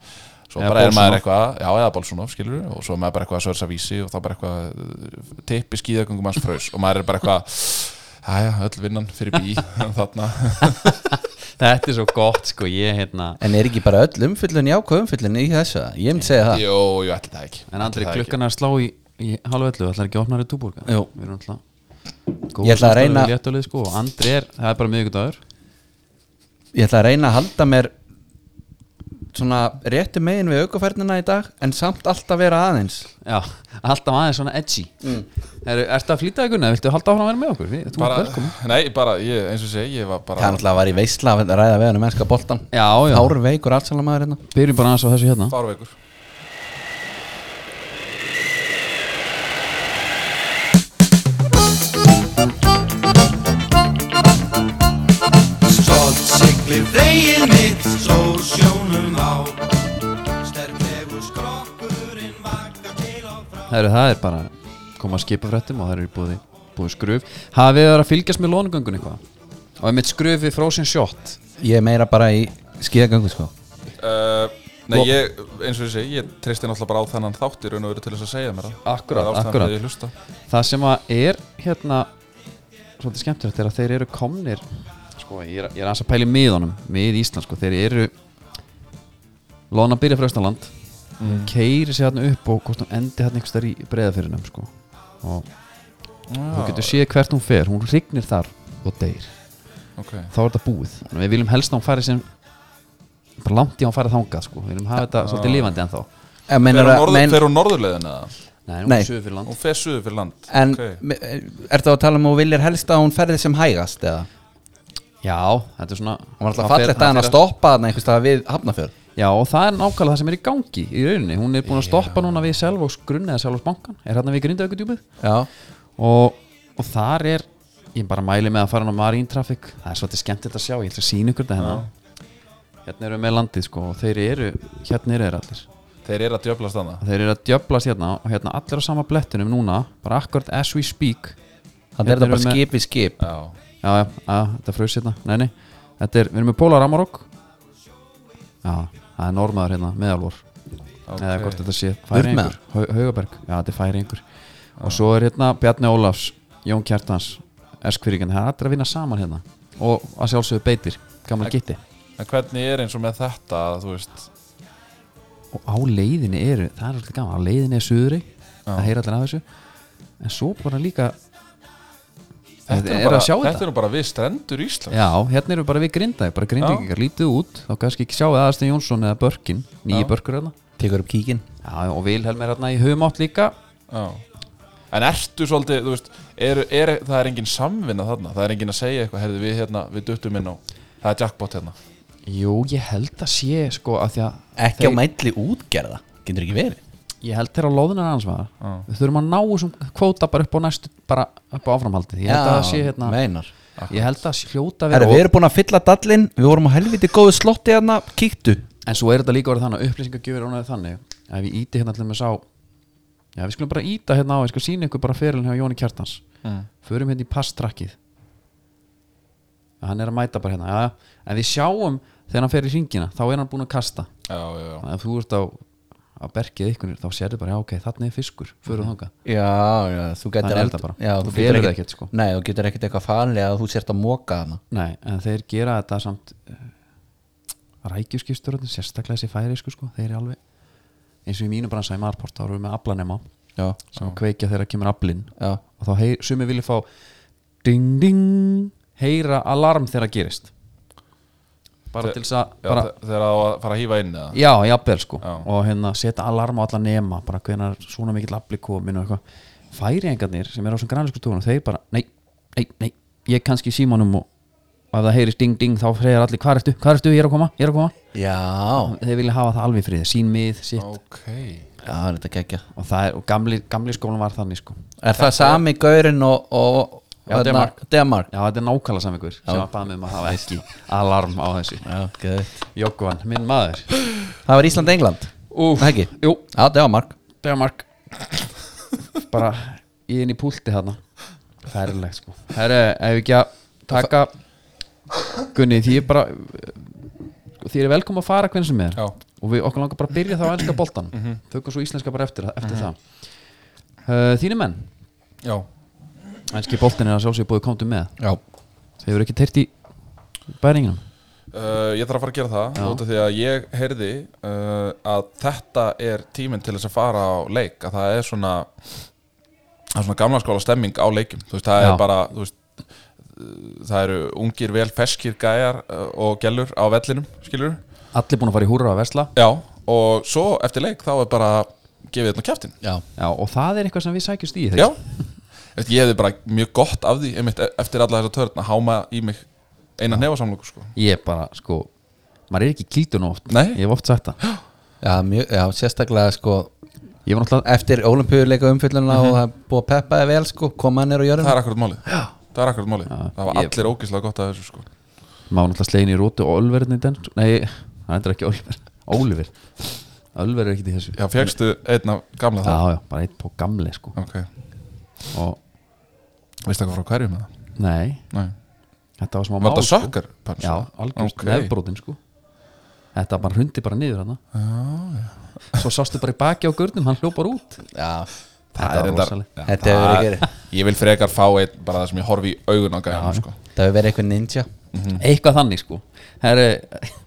S3: Svo
S1: Eða
S3: bara er
S1: Bolsonaro.
S3: maður eitthvað, já eða Bolsonov skilur og svo er maður bara eitthvað að sörsa vísi og þá bara eitthvað tippi skíðagöngum hans fraus og maður er bara eitthvað, hæja, öll vinnan fyrir bí þarna
S1: Þetta er svo gott sko, ég hérna
S2: En er ekki bara öll umfyllun jákvæð umfyllun í þessu Ég myndi segja það
S3: Jó, jú, ætli það ekki
S1: En
S3: Ætli
S1: andri,
S3: það ekki.
S1: klukkan er að slá í, í halv öllu Það ætlar ekki að opna þér í túbúrka
S2: Jú.
S1: Við erum alltaf
S2: Ég ætla að reyna-
S1: léttulið, sko. og Andri er, það er bara miðvikudagur
S2: Ég ætla að reyna að halda mér Svona réttu megin við aukafærnina í dag En samt alltaf vera aðeins
S1: Já, (laughs) alltaf aðeins svona edgy mm. er, Ertu að flýta ykkur neða, viltu halda áfram að vera með okkur? Við, þú
S3: bara,
S1: ert velkomin
S3: Nei, bara, ég, eins og sé, ég var
S2: Það
S3: bara
S2: er náttúrulega að var í veisla að ræða við hann um ennska boltan
S1: Já, já,
S2: Áru veikur allsalamæður hérna
S1: byrjum bara aðeins á þessu hérna
S3: fárveikur
S4: Stolt siglir veginn mitt, sól sjónum á Sterklegur skrokkurinn vakar til og frá
S1: Heru, það er bara koma að skipa fréttum og það eru búið, búið skröf hafið þið verið að fylgjast með lónugöngun eitthvað og einmitt skröf við Frozen Shot
S2: Ég er meira bara í skíðagöngu sko
S3: uh, Nei, ég, eins og ég sé, ég treysti náttúrulega bara á þennan þátt í raun og veru til þess að segja mér það
S1: Akkúrat,
S3: Það er ástæðan
S1: akkúrat.
S3: fyrir að ég hlusta.
S1: það sem að er hérna svolítið skemmtilegt er að þeir eru komnir sko, ég er, ég er aðeins að pæli miðunum mið Ísland, sko, þeir eru lóna byrja frá Östaland mm. keiri sér hérna upp og hvort hún endi hérna einhvers þar í breðafyrinum sko. og þú getur séð hvert hún fer, hún rignir þar og deyr
S3: Ok,
S1: þá er þetta búið Þannig að við viljum helst að hún fari sem bara langt í að hún fari þangað sko. við viljum hafa þetta svolítið lifandi ennþá
S2: Ég
S3: Fer
S2: meina,
S3: hún norður-
S2: men,
S3: fer hún norðurleiðin eða?
S1: Nei,
S2: Nei.
S1: hún er sögur fyrir land
S3: Hún fer suður fyrir land
S2: En
S3: Ok.
S2: okay. er það að tala um að hún viljir helst að hún ferði sem hægast eða?
S1: Já, þetta er svona
S2: Hún var alltaf
S1: hann fer-
S2: fallegt
S1: hann
S2: að hann að
S1: fer
S2: stoppa hann einhvers staðar við Hafnafjörð
S1: Já, og það er nákvæmlega það sem er í gangi í rauninni Hún er búin að stoppa núna við Selvóks grunn eða Selvóks bankan Er hérna við grindaukudjúpið
S2: Já,
S1: og, og þar er Ég bara mæli með að fara hann á Marine Traffic Það er svolítið skemmtilegt að sjá, ég ætla að sína ykkur þetta hérna Hérna eru með landið sko og þeir eru, hérna eru þeir allir
S3: Þeir eru að djöflast þannig
S1: og þeir eru að djöflast hérna og hérna allir á sama blettunum núna bara akkurat as we speak
S2: það
S1: Hérna
S2: er það
S1: erum
S2: bara
S1: við-
S2: skip í skip
S3: Já,
S1: já, já, já, þetta frös hérna, nei, nei þetta er, við erum með Pólar Amarok já, það er normaður hérna, meðalvor
S3: ok
S1: eða hvort þetta sé
S2: Upp með
S1: færingur, Haugaberg já, þetta er færingur og svo er hérna Bjarni Ólafs, Jón Kjartans Eskfyrirgan, það er allir að vinna saman hérna og að sjálfsögðu beitir, gamla gitti
S3: En hvernig er eins og með þetta að þú veist
S1: og á leiðinni eru, það er alltaf gaman á leiðinni er suðri, það heyr allir af þessu en svo bara líka
S3: Þetta
S1: Þið
S3: er,
S1: eru
S3: bara,
S1: að sjá
S3: þetta
S1: þetta.
S3: er nú bara við strendur Ísland
S1: já, hérna eru bara við grindaði, bara grindingar lítið út, þá kannski ekki sjáu aðastin Jónsson eða Börkin, nýji
S3: Já.
S1: Börkur hérna
S2: Tekur upp kíkin
S1: já, og Vilhelm er hérna í humátt líka
S3: Já. En ertu svolítið, þú veist er, er, Það er engin samvinna þarna Það er engin að segja eitthvað, herðu við hérna, við duttum inn á Það er jackpot hérna
S1: jú, ég held að sé sko að því að
S2: Ekki á mælli útgerða, getur ekki verið
S1: ég held þeirra loðunar hans maður
S3: Já.
S1: við þurfum að ná þessum kvóta bara upp á næstu bara upp á áframhaldið, ég held að það sé hérna
S2: meinar
S1: ég held að það sé hljóta að
S2: Herra,
S1: vera
S2: Við erum búin að fylla dallin, við vorum á helviti góðu slotti hérna, kíktu
S1: En svo er þetta líka orðið þannig að upplýsingagjöfur er orðið þannig að ef við íti hérna allir með sá Já, við skulum bara íta hérna á ég skal sína ykkur bara fyrirlin hjá Jóni Kjartans Förum hérna í passtrakkið ja, Hann er að mæta bara hérna Já, já, en við sjáum þegar hann fer í hringina þá er hann búin að kasta
S3: Já, já, já
S1: Þannig að ef þú ert á, á berkið ykkur þá sérðu bara, já ok, þarna er fiskur förum
S3: Mhm.
S1: þangað
S2: Já, já, þú
S1: Þannig
S2: getur
S1: er
S2: ald-
S1: þetta bara.
S2: já,
S1: Þú
S2: getur
S1: velur ekkert, sko.
S2: Nei, þú getur ekkert eitthvað fanlega að þú sért að móka hana
S1: Nei, en þeir gera þetta samt uh, rækjuskistur sérstaklega þessi færiðsku sko, þeir eru alveg eins og í mínu bransa í Marport þá erum við með aflanema
S2: Já,
S1: sem kveikja þegar kemur aflinn
S2: já,
S1: og þá heyr, sumi vilja fá ding ding heyra alarm þegar það gerist bara
S3: Þe-
S1: til þess að
S3: Já,
S1: bara,
S3: þe- Þegar það á að fara að hýfa inn eða
S1: já, jafnvel sko
S3: Já.
S1: og hérna setja alarm á alla nema bara hvenar svona mikill afli komin og eitthvað færiengarnir sem eru á svona grænlísku stofunum þeir bara, nei, nei, nei ég er kannski í símanum og, og ef það heyrist ding ding þá freyjar allir, hvað ertu, hvað ertu, ég er að koma ég er að koma,
S2: já,
S1: þeir vilja hafa það alveg frið sín mið, sitt
S3: Ok
S2: já, þetta kekja
S1: og það er, og gamli, gamli skólan var þannig sko
S2: Er það sami gaurinn og, og
S1: Já,
S2: hérna,
S1: Denmark.
S2: Denmark
S1: Já, þetta er nákvæmlega saman ykkur sem að bæða mig um að hafa ekki alarm á þessu
S2: Já, geðveikt.
S1: Jókvan, minn maður
S2: Það var Ísland-England
S1: Úf,
S2: Ekki?
S1: Jú,
S2: Já, Denmark
S1: Danmark Bara í inn í púlti þarna Færilegt sko Herre, ef ekki að taka Gunni, því er bara sko, Því er velkom að fara hvernig sem er
S3: Já.
S1: Og við okkur langar bara að byrja það á ennska boltan Tökum svo íslenska bara eftir, eftir það uh, Þínu menn
S3: Já
S1: Ennski boltin er að sjálfsögur búið komdu með
S2: Já
S1: Þeir eru ekki teirt í bæringinum
S3: Uh, ég þarf að fara að gera það út af því að ég heyrði uh, að þetta er tíminn til þess að fara á leik að það er svona það er svona gamla skóla stemming á leikum þú veist, það
S1: Já.
S3: er bara þú veist, uh, það eru ungir vel feskir gæjar uh, og gælur á vellinum skilur
S1: Allir búin að fara í húra að versla
S3: já og svo eftir leik þá er bara gefið þetta kjæftin
S2: Já,
S1: Já, og það er eitthvað sem við sækjumst í
S3: já Eftir, ég hefði bara mjög gott af því einmitt, e- eftir alla þessa törn að háma í mig eina nefasamlöku sko
S1: Ég er bara, sko, maður er ekki kýtun oft
S3: Nei.
S1: Ég hef oft sagt það
S2: já, mjög, já sérstaklega sko
S1: Ég var náttúrulega,
S2: Eftir ólimpíuleika umfyllunna og það er búið að peppa þig vel sko Koma hann er á
S3: það
S2: jörðinu
S3: er akkurat málið það er akkurat málið það var
S1: ég-
S3: allir ógislega gott af þessu sko
S1: maður var náttúrulega slegin í rótu og Ölverðin í den Nei, það endur ekki Ölver Ólver Ölver er ekki í þessu
S3: Já, fegstu einn af
S1: já,
S3: gamla það?
S1: já, bara eitt på gamli, sko
S3: Ok,
S1: og,
S3: veistu eitthvað frá hverju með það?
S1: Nei,
S3: Nei
S1: þetta var smá
S3: Var þetta
S1: sko.
S3: sökkar? punch?
S1: Já, algjörst
S3: Ok.
S1: okay. nefbrotin, sko Þetta bara hrundi bara niður hann Já, já Svo sástu bara í baki á gurnum, hann hljópar út
S2: Já,
S1: Þetta
S3: er
S1: var
S3: reyndar-
S1: rosaleg.
S3: Já,
S2: Þetta hefur
S3: það-
S2: verið gerið.
S3: Ég vil frekar fá einn bara það sem ég horfi í augun á gæðan sko.
S2: það hefur verið eitthvað ninja
S1: eitthvað þannig sko Herri,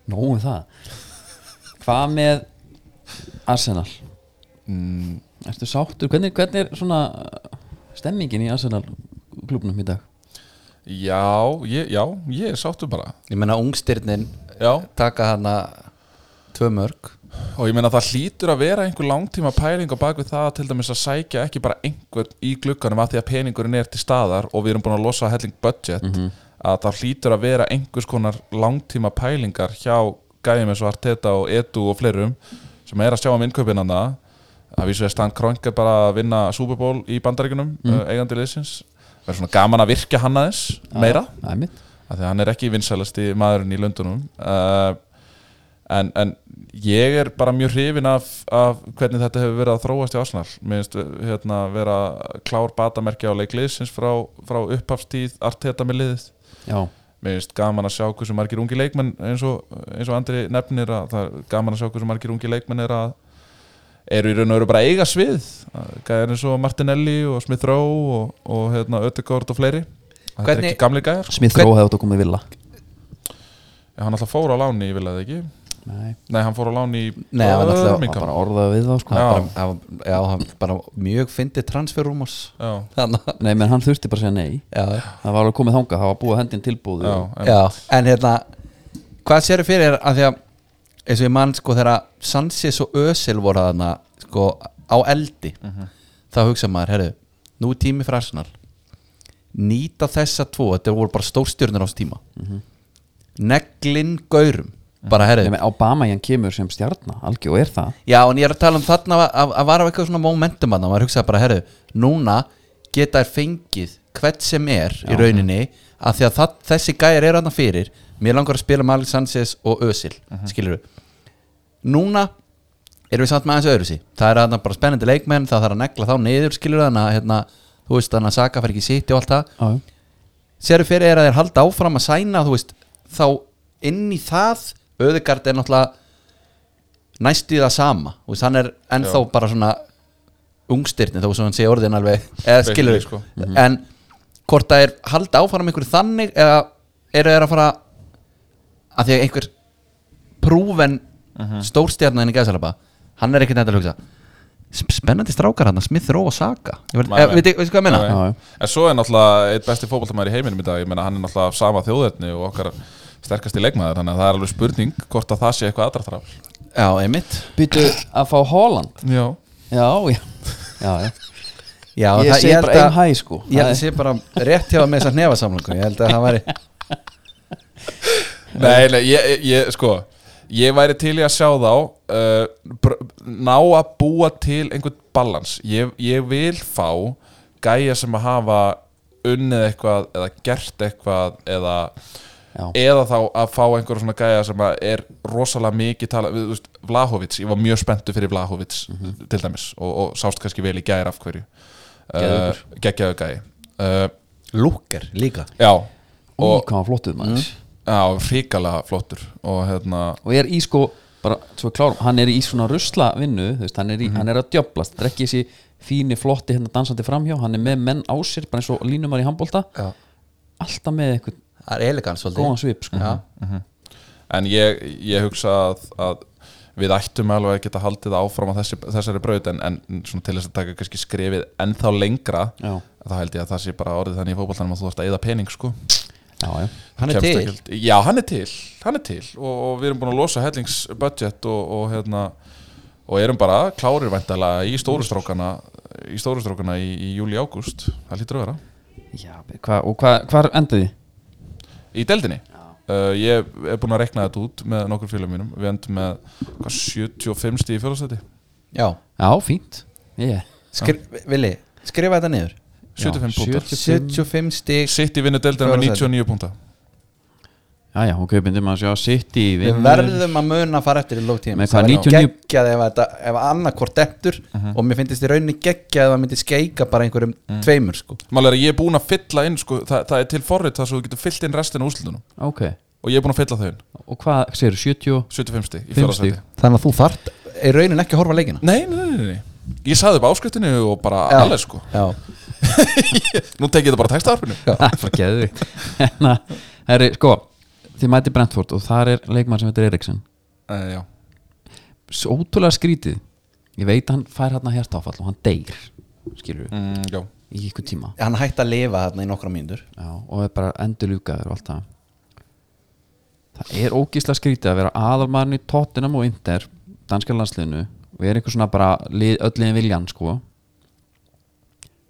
S1: (laughs) nógu það hvað með Arsenal Mm. ertu sáttur, hvernig, hvernig er svona stemmingin í Arsenal klubnum í dag
S3: Já, ég, já, ég er sáttur bara
S2: Ég meina ungstyrnin
S3: Já.
S2: taka hana tvö mörg
S3: og ég meina það hlýtur að vera einhver langtíma pæling á bakvið það til dæmis að sækja ekki bara einhvern í glugganum að því að peningurinn er til staðar og við erum búin að losa helling budget að það hlýtur að vera einhvers konar langtíma pælingar hjá gæðum eins og Arteta og Edu og fleirum sem er að sjá um innkaupinanna að vísu að Stan Kroenke bara að vinna Super Bowl í bandaríkunum uh, eigandi liðsins verður svona gaman að virkja hann aðeins meira
S1: Það er mitt
S3: af því að hann er ekki vinsælasti maðurinn í löndunum uh, en, en ég er bara mjög hrifin af, af hvernig þetta hefur verið að þróast í Arsenal minnst hérna, vera klár batamerki á leikliðsins frá, frá upphafstíð arteta með liðið
S1: Já,
S3: minnst gaman að sjá hversu margir ungi leikmenn eins og, eins og andri nefnir að það er gaman að sjá hversu margir ungi leikmenn er að eru í raun og veru bara að eiga svið gæðar eins og Martinelli og Smith Rowe og, og hérna, Öttegård og fleiri Þetta er
S2: Hvernig-
S3: ekki gamli gæðar
S1: Smith Rowe hefði átt að koma í villa
S3: Já, hann alltaf fór á láni, ég vil að ekki
S1: Nei,
S3: Nei, hann fór á láni í
S2: Nei, hann var náttúrulega-
S1: það var
S3: Birmingham.
S1: bara orðað við þá sko
S3: Já.
S2: já. Bara, já, hann bara mjög fyndi transferrúmars
S3: Já,
S2: þannig að-
S1: Nei, menn hann þurfti bara að segja nei
S2: já,
S1: Það var alveg komið þangað, það var búið að hendin tilbúð
S3: já, en,
S2: já, en hérna hvað séru fyrir þér að því að eins og ég mann sko þegar Sansis og Özil voru þarna sko á eldi þá hugsa maður, herru, nú er tími fyrir Arsenal nýta þessa tvo þetta voru bara stórstjörnir á þessu tíma neglin gaurum bara herru,
S1: Nei, menn Obama hann kemur sem stjarnar, algjör og er það
S2: já en ég er að tala um þarna að, að, að vara eitthvað svona momentum að maður hugsaði bara, herru, núna geta þær fengið hvert sem er í rauninni, af því að það, þessi gæjar er þarna fyrir, mér langar að spila með Alex Sanchez og Özil, uh skilur núna erum við samt með aðeins öðru sí, það er þarna bara spennandi leikmenn, það þarf að negla þá niður, skilur þannig að hérna, þú veist þannig að Saka fær ekki sitt og allt það,
S1: Já, já.
S2: sérðu fyrir er að þeir halda áfram að sæna þú veist, þá inn í það Öðegard er náttúrulega næst í það sama þú veist, hann er ennþá
S3: Já.
S2: bara svona ungstyrni þó sem hann sé orðin alveg eða skilur
S3: Basically, sko.
S2: en hvort það er halda áfram einhverju þannig eða eru þeir að fara að því að einhver prúven uh
S3: Mhm.
S2: -huh. stórstjarnan í gæðsalaba hann er ekkert þetta að hugsa "Sp- spennandi strákar hann, Smith Rowe og Saka ég veit,
S3: Nei,
S2: eh,
S3: nei.
S2: veit, veit hvað ég menna?
S3: Nei.
S1: Já, já.
S3: En svo er náttúrulega eitt besti fótboltamæður í heiminum í dag Ég meina, hann er náttúrulega af sama þjóðetni og okkar sterkasti leikmaður Þannig að það er alveg spurning hvort að það sé eitthvað aðdraðrafl
S2: já, einmitt
S1: Býtu að fá Holland
S3: Já,
S1: Já, já, já, já.
S2: Já,
S1: Ég
S2: það-
S1: segi
S2: held
S1: bara
S2: að-
S1: aim high, sko.
S2: Ég held
S1: Það
S2: að sé bara rétt hjá með þessar nefasamlingu Ég held að það væri
S3: nei, nei, ég, ég- ég, sko Ég væri til í að sjá þá uh, br- Ná að búa til einhvern balans ég, ég vil fá gæja sem að hafa unnið eitthvað eða gert eitthvað eða
S1: Já.
S3: eða þá að fá einhverja svona gæja sem að er rosalega mikið tala við, þú veist, Vlahovits, ég var mjög spenntu fyrir Vlahovits
S1: Mhm.
S3: til dæmis og, og sást kannski vel í gæjar af hverju uh,
S1: Geðveikur.
S3: geggjaðu gæji uh,
S2: Lúker líka
S3: já,
S1: Í
S3: og,
S1: hvað hann flottuð maður
S3: já, hrikalega flottur og hérna
S1: Mm. og er í sko bara, svo klárum, hann er í svona rusla vinnu veist, hann, er
S2: Mhm.
S1: í, hann er að djöblast, það er ekki þessi fíni flotti hérna dansandi framhjá hann er með menn á sér, bara eins og línumar í handbólta
S2: Já.
S1: alltaf með eitthvað
S2: Það er elegans svolítið
S1: góðan svip sko.
S2: Já.
S3: en ég, ég hugsa að, að við ættum alveg að geta haldið áfram á þessi, þessari braut en, en svona til þess að taka kannski skrefið ennþá lengra
S1: Já.
S3: þá held ég að það sé bara orðið þannig í fótboltanum að þú þarfst að eða pening sko
S1: Já, já.
S2: Hann er
S3: Kemst
S2: til
S3: ekkert- Já, hann er til, hann er til og, og við erum búin að losa hellingsbudget og, og hérna og erum bara klárir væntalega í stóru strókana í stóru strókana í, í júli ágúst það lítur að vera
S1: Já, hva, og hva, hvar endið þið?
S3: í deldinni uh, ég er búin að rekna þetta út með nokkur félagum mínum við endum með hvað, 75 stíð í fjólastætti
S2: Já,
S1: Já, fínt yeah.
S2: Skri, Vili, skrifa þetta niður
S3: 75 púntar
S2: 75 stig
S3: sitt í vinnu deldina með
S2: Fjórða sæti.
S3: 99 púntar
S1: Já, já, ok, myndum að sjá sitt í
S2: Við verðum að muna að fara eftir í lóktíðum
S1: Með hvað, 99?
S2: Geggjað ef, þetta- ef annarkvort eftir Og mér finnst í rauninni geggjað Ef að myndi skeika bara einhverjum tveimur sko.
S3: Málega er að ég er búin að fylla inn sko, það, það er til forrið þar svo þú getur fyllt inn restina af úrslitunum
S1: Ok,
S3: og ég er búin að fylla þau inn
S1: og hvað, segir 70
S3: 75 stíð
S1: 5
S3: í fjólastætti
S1: stíg
S2: Þannig að þú þart í rauninni ekki að horfa á leikina
S3: Nei, nei, nei, nei. Ég sagði upp áskriftinu og bara
S2: Já.
S3: alveg sko
S2: Já,
S3: Nú tekið þetta bara textaðarpinu
S1: (laughs) Það er geðvikt Herri, sko, þið mæti Brentford og þar er leikmann sem heitir Eriksson
S3: uh, Já,
S1: svo ótrúlega skrítið ég veit að hann fær hérna hjartáfall og hann deyr skilur við,
S3: mm, já.
S1: í ykkur tíma
S2: hann hætti að lifa þarna í nokkra mínútur
S1: já, og er bara endurljúkaður og allt það það er ógísla skrítið að vera aðalmaðurinn í Tottenham og Inter danska landsliðinu og er einhver svona bara lið, öll liðin viljan sko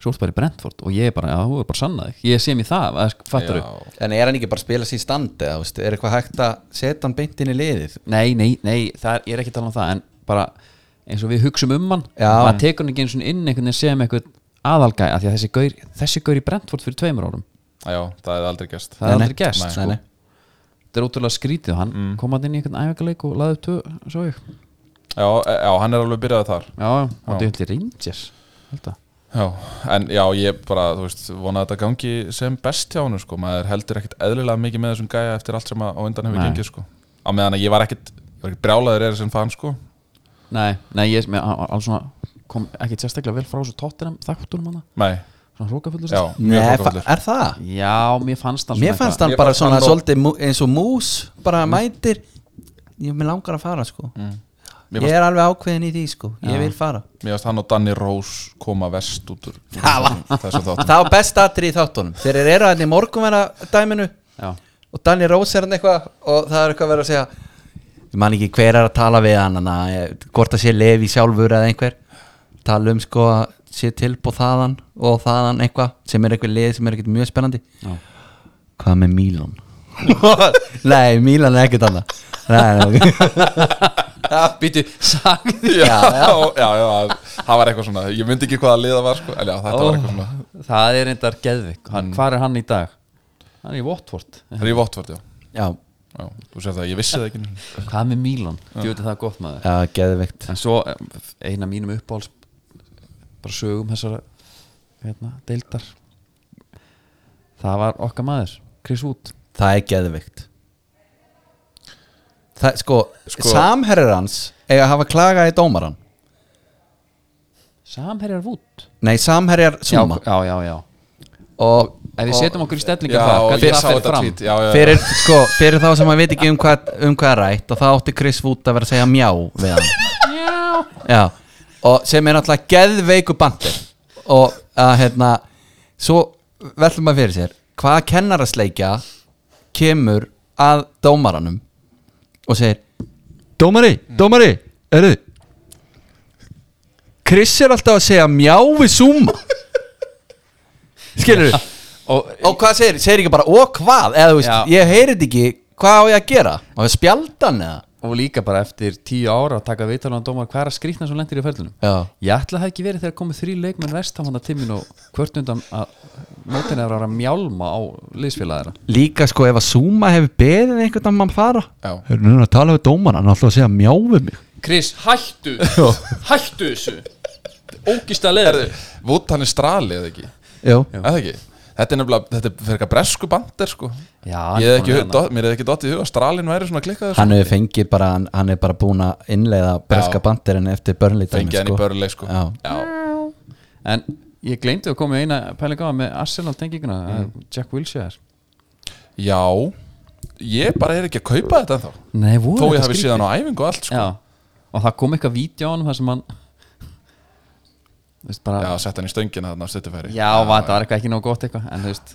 S1: svo ertu bara í Brentford og ég er bara, já, þú er bara sannað ég sé mér það, fattar þú
S2: En er hann ekki bara að spila sér í standi eða, þú veist, er eitthvað hægt að setja hann beint inn í liðið
S1: nei, nei, nei, það er, ég er ekki að tala um það en bara eins og við hugsum um hann
S2: Já.
S1: maður tekur hann ekki eins og inn einhvern veginn sem einhvern aðalgæ að því að þessi gaur, þessi gaur í Brentford fyrir tveimur árum,
S3: Já, það hefði aldrei gerst
S1: það er
S2: Nei, nei.
S1: aldrei gest
S2: Nei,
S1: sko.
S2: nei.
S1: þetta er ótrúlega skrítið og hann mm. kom hann inn í einhvern æfingarleik og laði upp tvö, svo ég
S3: Já, e- já, hann er alveg byrjaði þar
S1: já, já, og þetta er Rangers held að
S3: Já, en já, ég bara, þú veist, vona að þetta gangi sem best hjá hann, sko maður heldur ekkit eðlilega mikið með þessum gæja eftir allt sem að á undan hefur
S1: Nei.
S3: gengið, sko á meðan að ég var ekkit, ég var ekkit brjálaður er sem fann, sko
S1: Nei, nei, ég með, al- alls svona kom ekki sérstaklega vel frá þessu tóttinam þaktunum hana,
S3: Nei,
S1: svona hrókafullu
S3: já,
S2: Nei,
S3: mjög
S2: fa-
S3: fólkvöldur
S2: er það?
S1: já, mér fannst hann
S2: Mér fannst
S1: eitthvað-
S2: hann
S3: Mér
S2: bara
S3: fannst
S2: svona
S3: hann Mm. ló-
S2: svolítið mú- eins og mús bara mætir ég mér langar að fara sko
S3: Mér
S2: ég er alveg ákveðin í því sko ég
S1: Já.
S2: vil fara
S3: Mér varst hann og Danny Rose koma vest út úr
S2: Það var-
S3: þessum þáttum
S2: það var best atrið í þáttunum þeir eru hann í morgunverða dæminu
S1: Já, (laughs)
S2: og Danny Rose er hann eitthvað og það er eitthvað að vera að segja ég man ekki hver er að tala við hann hana, hvort að sé Levi sjálfur eða einhver tala um sko að sé tilbúð þaðan og þaðan eitthvað sem er eitthvað lið sem er ekkert mjög spennandi
S1: já,
S2: hvað með Mílan
S1: (laughs)
S2: nei, Mílan er ekkert annað nei, nei.
S1: (laughs)
S2: það býtu
S1: sagði
S3: Já, já, já, já, það var eitthvað svona Ég myndi ekki hvaða liða var, sko En já, þetta var eitthvað svona
S1: það er reyndar geðvik hann,
S3: Mm.
S1: hvar er hann í dag? hann er í Watford
S3: Það er í Votvort, já
S2: já,
S3: Já, þú sér það, ég vissi það ekki
S1: hvað með Milan, þú veit að það er gott maður
S2: já, geðvikt
S1: en svo eh, eina mínum uppáhalds bara sögum þessara hérna, deildar það var okkar maður Chris Wood
S2: það er geðvikt það, sko,
S3: Sko-
S2: sko samherrar hans eiga að hafa klagað í dómaran
S1: samherjar Wood
S2: nei, samherjar
S1: já,
S2: suma
S1: já, já, já
S2: og,
S1: ef við
S2: og
S1: setjum okkur í
S3: Já,
S1: stellingar það,
S3: og
S1: hvernig
S3: ég sá
S1: það fyrir
S3: þetta
S1: fram
S3: tvít Já, já, já,
S2: fyrir, sko, fyrir þá sem maður veit ekki um hvað, um hvað er rætt og þá átti Chris Wood að vera að segja mjá við hann já, og sem er náttúrulega geðveiku bandir og að hérna svo veltum maður fyrir sér hvaða kennarasleikja kemur að dómaranum og segir dómari,
S3: Mm.
S2: dómari, eru Chris er alltaf að segja mjá við
S3: (laughs)
S2: Zuma skilur
S1: og
S2: og hvað segir, segir ekki bara og hvað eða þú veist,
S1: Já.
S2: ég heyrið ekki hvað á ég að gera á ég að spjalda hann eða
S1: og líka bara eftir tíu ára að taka viðtalan dómar hver að skrýtna sem lendir í ferðlunum
S2: já,
S1: ég ætla að það ekki verið þegar komið þrý leikmenn vest á hana timmin og hvort undan að mótin er að vera að mjálma á liðsfélagara
S2: líka sko ef að Zuma hefur beðið um einhvern að mann fara
S3: Já.
S2: hérna er að tala við dómar hann alltaf að segja mjá við mig
S1: Chris, hættu hættu þessu ógist að leður
S3: Vút hann er strali eða ekki
S2: já,
S3: Eða ekki Þetta er nefnilega, þetta er fyrir eitthvað bresku bandir sko
S1: Já,
S3: Ég hef
S1: hann
S3: ekki,
S1: er hérna.
S3: dott- Mér hefði ekki dottið í huga Stralin væri svona sko. klikkaður
S2: hann hefur fengið bara hann, hann er bara búin að innleiða breska bandirinn eftir börnlítið
S3: Fengið hann í börnleik sko
S2: Já.
S3: Já,
S1: en ég gleymdi að koma í eina pæling á með Arsenal tenginguna
S3: Mm.
S1: Jack Wilshere sko.
S3: Já. Ég bara er ekki að kaupa þetta ennþá
S1: Nei, voru
S3: Þó
S1: þetta
S3: ég hafi
S1: skrítið?
S3: síðan á æfingu og allt sko
S1: Já, og það kom eitthvað vídeo á hann þar sem hann Þú veist bara
S3: Já, sett hann í stöngina þarna á stuttifæri
S1: Já, var, það var eitthvað ekki nóg gott eitthvað En þú veist,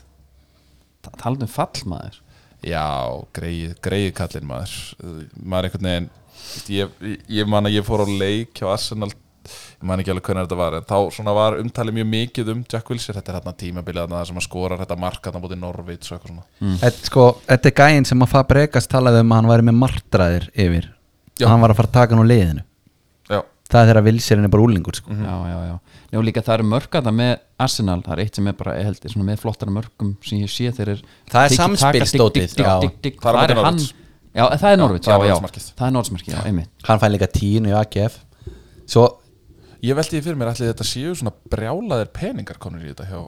S1: talaðu um fallmaður
S3: Já, greið, greið kallinn maður maður einhvern veginn ég, ég man að ég fór á leik hjá Arsenal ég man ekki alveg hvernig þetta var en þá svona var umtalið mjög mikið um Jack Wilshere þetta er þarna tímabilið þarna þar sem að skorar þetta mark þarna bútið Norvits og eitthvað svona
S2: Þetta, sko, þetta er gæinn sem að Fabregas talaði um að hann væri með martraðir yfir
S3: Já.
S2: hann var að fara að taka hann úr liðinu
S3: Já,
S2: það er þegar að vilsirinn er bara úlingur sko.
S3: Mhm.
S1: Já, já, já Njá, líka það eru mörg að það með Arsenal Það er eitt sem er bara, ég held, svona með flottara mörgum sem ég sé þeir er
S2: Það er
S1: tiki-taka,
S2: samspilsdótið,
S1: digg, digg,
S2: já.
S1: digg, digg, digg.
S3: Það er á
S1: Hvar
S3: móti
S1: er hann Já,
S3: Norwich.
S1: það er Norvits,
S3: það er
S1: já, já
S3: Norwichmarkið.
S1: Það er Norvitsmarkið, já, einmitt
S2: hann fær líka tínu í AGF svo,
S3: ég veldi því fyrir mér allir þetta séu svona brjálaðir peningar konur í þetta hjá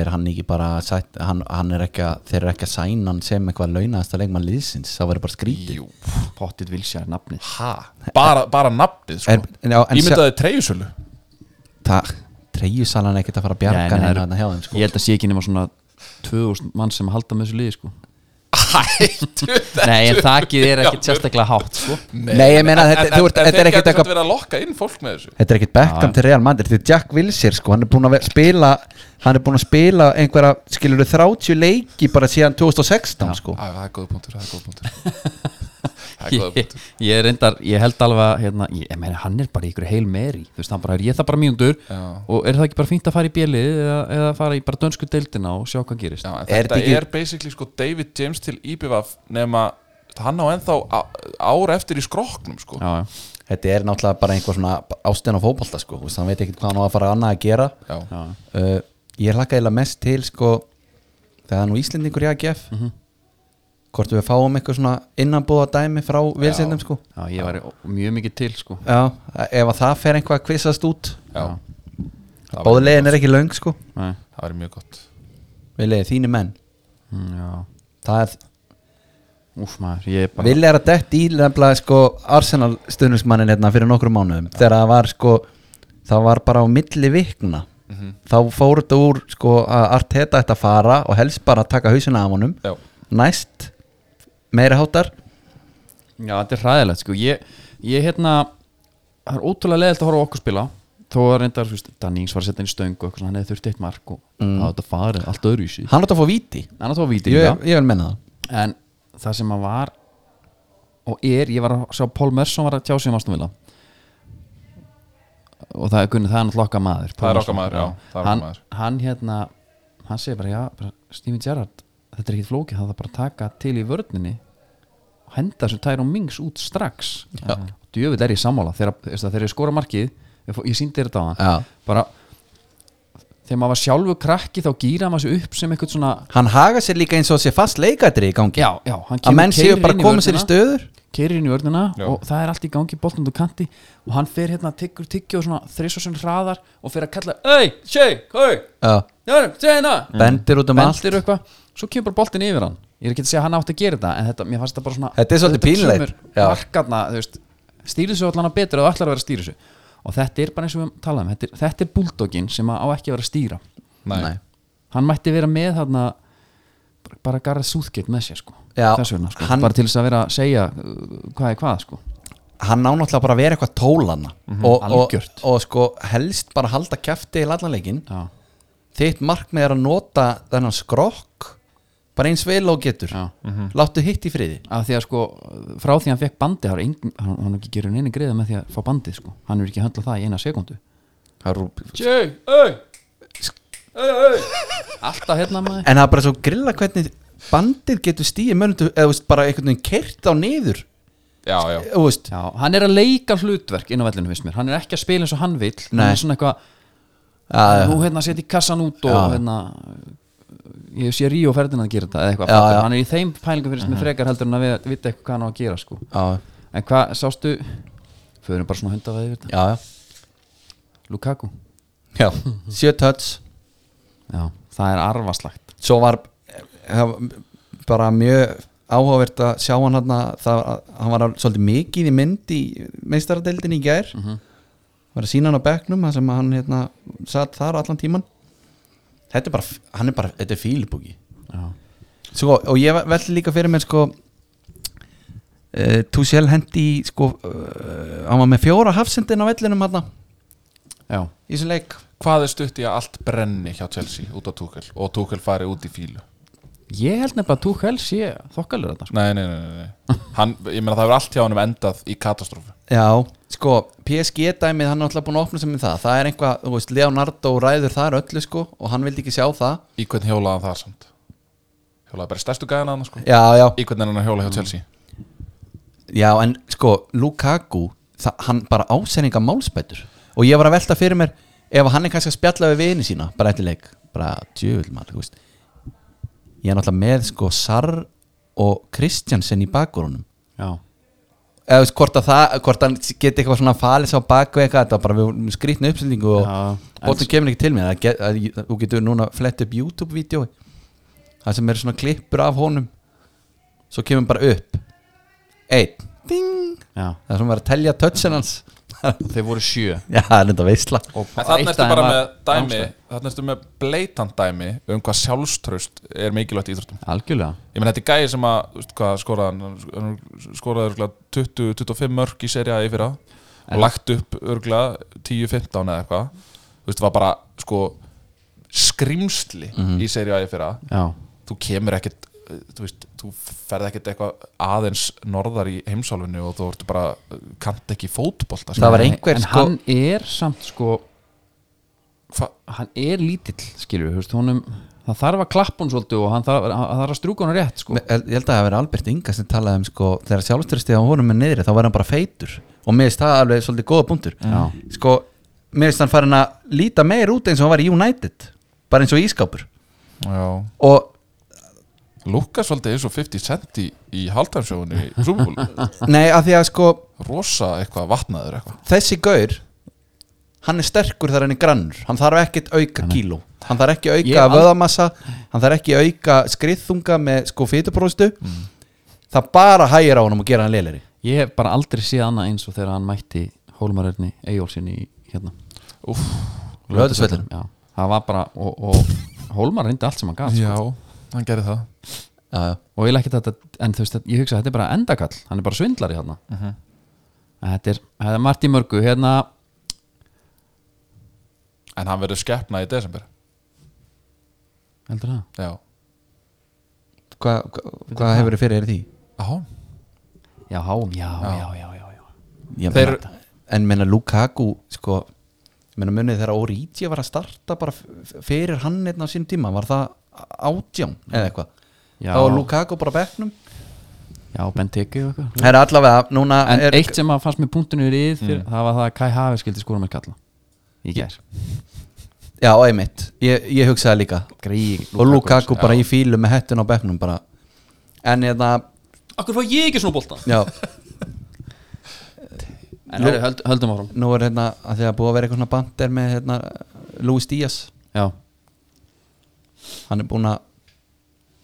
S2: er hann ekki bara sætt, hann, hann er ekki að, þeir eru ekki að sæna hann sem eitthvað launaðasta leikmann liðsins það verður bara skrítið
S3: Jú,
S1: Pottit Vilsjær, nafnið
S3: ha, bara, bara nafnið sko.
S2: En- en- já, en
S3: ég myndi að þið treyjusölu
S2: það treyjusalan er ekkert að fara að
S1: Nei, nei,
S2: bjarga
S1: það
S2: hann
S1: eru-
S2: hérna hjá þeim
S1: Ég
S2: sko.
S1: held að sé ekki nema svona 2000 mann sem halda með þessu liði sko
S3: hættu (laughs)
S1: Nei, en þakið er ekkert sérstaklega hátt sko.
S2: Nei, ég meina, þetta- þú ert- þetta er
S3: þeir
S2: ekkert
S3: gætu
S2: eitthvað-
S3: samt verið að lokka inn fólk með þessu
S2: Þetta er ekkit Beckham til Real Madrid Þetta er Jack Wilshere sko Hann er búin að ve- spila Hann er búin að spila einhverja Skilur 30 leiki bara síðan 2016 sko
S3: Æ, það er góð punktur, það er góð
S2: (laughs)
S3: punktur Það er góð
S1: ég,
S3: punktur
S1: ég reyndar, ég held alveg að, hérna, ég, ég meina, hann er bara í ykkur heil meiri þú veist, hann bara er ég það bara mínútur
S3: Já.
S1: og er það ekki bara fínt að fara í bjelið eða, eða fara í bara dönsku deildina og sjá hvað gerist
S3: Já, en
S2: Er
S3: þetta
S2: þetta ekki-
S3: er basically sko David James til IBVF nema hann á ennþá á- ár eftir í skroknum sko
S1: já, já.
S2: Þetta er náttúrulega bara einhver svona Ástæðan á fótbolta sko Þú veist, Hann veit ekkit hvað hann á að fara annað að gera
S3: Já.
S2: uh, Ég hlakka eða mest til sko Þegar nú Íslendingur í AGF Hvort við fáum eitthvað svona innanbúða dæmi frá vilsendum sko
S1: já, ég var mjög mikið til sko
S2: Já, ef að það fer einhvað að kvissast út
S3: Já, Það væri-
S2: Bóðlegin er ekki löng sko
S1: Nei,
S3: það er mjög gott
S2: Við leiði þínu menn
S1: mm, já,
S2: Það er
S1: úf maður, ég er bara
S2: Vili er að dett í nefnilega sko Arsenal stuðnismannin hérna fyrir nokkrum mánuðum þegar það var sko það var bara á milli vikna þá fór þetta úr sko að Arteta ætti að fara og helst bara að taka hausina af honum
S3: Já.
S2: næst meiri hátar
S1: Já, þetta er hræðilegt sko Ég, ég hérna Það er ótrúlega leðilt að horfa á okkur spila Þó að reyndar, þú veist, Dannings var að setja inn í stöng og eitthvað svona, hann hefði þurft eitt mark og
S3: Mm.
S1: það var þetta farið allt öðru í sig
S2: hann átt að fá víti
S1: Annars var vítið
S2: ég, ég vil menna það
S1: En það sem að var og er, ég var að sjá Pól Mersson var að tjá sig um Aston Villa og það er gunnið, það er náttúrulega okkar maður Paul
S3: Það er
S1: Merson,
S3: okkar maður, já, það er
S1: hann,
S3: okkar maður.
S1: hann hérna, hann segir bara, já, bara, Steven Gerrard þetta er ekkit flókið, það er bara að taka til í vörninni og henda þessu Tyrone Mings út strax djöfull er ég sammála, þegar, veist það, þegar ég skora markið ég, fó- ég síndi þér þetta á
S2: Já.
S1: bara þegar maður var sjálfu krakki þá gýra maður sig upp sem eitthvað svona
S2: hann haga sér líka eins og sé fast leikadri í gangi
S1: já, já, hann
S2: að menn séu
S1: keyrir
S2: bara
S1: inn
S2: að
S1: í
S2: koma sér í
S1: vörnina
S2: stöður
S1: keirir inn í vörnina
S3: Já.
S1: og það er allt í gangi boltund og kanti og hann fer hérna tyggur tyggju og svona þrisvarsun hraðar og fer að kalla Ei, sjei, hei,
S2: Já.
S1: jörg, segina
S2: bendir út um allt
S1: hérna." bendir og eitthvað, svo kemur bara boltin yfir hann ég er ekki að segja að hann átti að gera þetta en þetta, mér fannst þetta bara svona
S2: Þetta er svolítið pínlegt. Já.
S1: markarna, þú veist, stýrið svo allan að betur og ætlar að vera að stýra þessu og þetta er bara eins og við talaðum, þetta er, þetta er búldókin sem að á ekki að vera að stýra
S2: Nei.
S1: hann mætti vera með þarna bara garð súðgeitt með sér sko
S2: Já,
S1: þess vegna sko,
S2: hann-
S1: bara til þess að vera að segja uh, hvað er hvað sko
S2: hann á náttúrulega bara að vera eitthvað tólana og, og,
S1: algjört.
S2: og sko helst bara halda kæfti í allanleikin
S1: já,
S2: þitt markmið er að nota þennan skrokk bara eins vel og getur
S1: Já.
S2: láttu hitt í friði
S1: af því að sko frá því að hann fekk bandi hann, engin, hann, hann er ekki gerir neina greiða með því að fá bandið sko hann er ekki að höndla það í eina sekundu
S3: Jay, ey
S1: alltaf hérna maður
S2: en það er bara svo grilla hvernig bandið getur stíði mönundu eða þú veist, bara einhvern veginn kert á niður
S3: Já, já
S2: Þú veist,
S1: já, hann er að leika hlutverk inn á vellinu finnst mér hann er ekki að spila eins og hann vill hann
S2: Nei.
S1: er svona eitthvað,
S2: Já, já.
S1: nú hérna setja í kassan út og
S2: Já.
S1: hérna ég sé Ríó ferðin að gera þetta eða eitthvað,
S2: Já,
S1: fattar,
S2: já.
S1: hann er í þeim pælingum fyrir sem er frekar heldur en að við- vita eitthvað hvað hann á að gera sko
S2: já,
S1: En hvað sástu Föðurum bara svona hundavæði yfir þetta
S2: já, já.
S1: Lukaku
S2: já. sjö touch
S1: Já, það er arfaslagt
S2: svo var eh, það var bara mjög áhugavert að sjá hann hann það, hann var svolítið mikið í mynd í meistaradeildin í gær var að sína hann á bekknum þar sem hann hérna, satt þar allan tíman þetta er bara, hann er bara þetta er fílibúki
S1: Já,
S2: sko, og ég veldi líka fyrir mér sko uh, Tuchel hendi í, sko, uh, hann var með fjóra hafsendin á vellinum hann
S1: já,
S2: í þessum leik
S3: Hvað er stutt í að allt brenni hjá Chelsea út á Tuchel og Tuchel fari út í fílu
S1: ég held nefnilega að Tuchel sé þokkalur þetta sko.
S3: Nei, nei, nei, nei, nei. Hann, Ég meina það hefur allt hjá hann endað í katastrófu
S2: Já, sko, PSG dæmið hann er alltaf búin að opna sem með það það er einhvað, þú veist, Leonardo ræður þar öllu sko og hann vildi ekki sjá það
S3: Í hvern hjólaði hann þar samt Hjólaði bara í stærstu gæðan hann sko.
S2: Já, já,
S3: Í hvern er hann að hjóla hjá Chelsea
S2: já, en sko Lukaku, það, hann bara ásendinga málspætur og ég var að velta fyrir mér ef hann er kannski að spjalla við vini sína bara eftir leik, bara djöfull maður, þú veist ég er náttúrulega með sko Sar og Kristjansen í bakgrunum
S1: Já,
S2: eða þú veist, hvort að það, hvort hann geti eitthvað svona falið sá baku eitthvað, þetta var bara við skrýtna uppsendingu og
S1: Já,
S2: bóttum kemur ekki til mér Það get- að ég- þú getur núna flett upp YouTube-vídeói það sem eru svona klippur af honum svo kemur bara upp einn, ding
S1: já,
S2: það er svona verið að telja touchin hans (laughs)
S1: Þeir voru sjö
S2: Já, það er enda veisla
S1: og
S3: En
S1: eitt
S3: þannig ertu
S1: af
S3: bara
S1: þeim
S3: með
S1: var
S3: dæmi
S1: námsleið.
S3: Þannig ertu með bleitant dæmi um hvað sjálfströst er mikilvægt í íþróttum
S1: Algjörlega
S3: Ég menn þetta er gæði sem að þú veist, hvað, skoraði, hann? Hann skoraði örugglega 20-25 mörg í serja í fyrra og lagt upp örgulega 10-15 eða eitthvað Þú veist, var bara sko skrimsli í serja í fyrra
S1: Já,
S3: þú kemur ekkert uh, þú veist, þú ferð ekkert eitthvað aðeins norðar í heimsálfinu og þú ertu bara, uh, kannt ekki fótbolta
S2: Það var einhver
S1: en
S2: sko-
S1: hann er samt sko
S3: Hva-
S1: Hann er lítill, skilur við honum, Það þarf að klappa hún svolítið og hann þarf, hann- hann þarf að strúka hún rétt sko
S2: Me- Ég held að það hafi verið Albert Inga sem talaði um sko, þegar sjálfstyrstið á honum er niðri þá var hann bara feitur og mér finnst það alveg svolítið góða punktur
S1: Já.
S2: sko, mér finnst hann farin að líta meir út eins og hann var í United bara eins og ískápur
S3: Já,
S2: og
S3: lúka svolítið eins og 50 cent í, í halvtæmsjóðinu í Súmbúl
S2: (laughs) nei, að því að sko
S3: rosa eitthvað vatnaður eitthvað
S2: þessi gaur hann er sterkur þar hann er grannur hann þarf ekkit auka kíló hann þarf ekki auka
S1: Ég al-
S2: vöðamassa hann þarf ekki auka skriðþunga með sko fytupróstu það bara hægir á honum og gera hann leileri
S1: Ég hef bara aldrei séð annað eins og þegar hann mætti Hólmarörni Eyjólfsinni í hérna
S3: Úff,
S2: Laugardalsvellinum.
S1: Já, það var bara og, og Hólmar reyndi allt sem hann gaf sko.
S3: já, hann gerir það
S2: já, já.
S1: og ég ekki þetta, en þú veist, ég hugsa að þetta er bara endakall, hann er bara svindlari hérna
S2: Mhm.
S1: en þetta er, þetta er margt í mörgu hérna,
S3: en hann verður skeppna í desember
S1: heldur það
S3: já,
S2: hvað hva, hva hefur þið fyrir því?
S3: Aha.
S1: já, háum, já, já, já, já, já.
S2: Ég
S3: Þeir-
S2: meina- en meina Lukaku sko, meina munið þegar Origi var að starta bara f- f- fyrir hann einn á sín tíma, var það átján eða eitthvað,
S1: Já.
S2: þá var Lukaku bara á bekknum,
S1: já, Ben Teke og eitthvað
S2: það er allavega núna
S1: en
S2: er, Mm.
S1: eitt sem að fannst mér punktinu í rið fyrir, það var það að Kai Hafi skildi skóra með kalla í gær,
S2: já, einmitt, ég, ég hugsaði líka
S1: greið
S2: og Lukaku bara í fílu með hettun á bekknum bara, en eða
S1: Akkur fá ég ekki svona bolta
S2: já,
S1: En höldum, höldum, höldum áfram
S2: nú er hérna að því að búið að vera eitthvað svona bandir með hérna Luis Díaz,
S1: Já,
S2: hann er búin að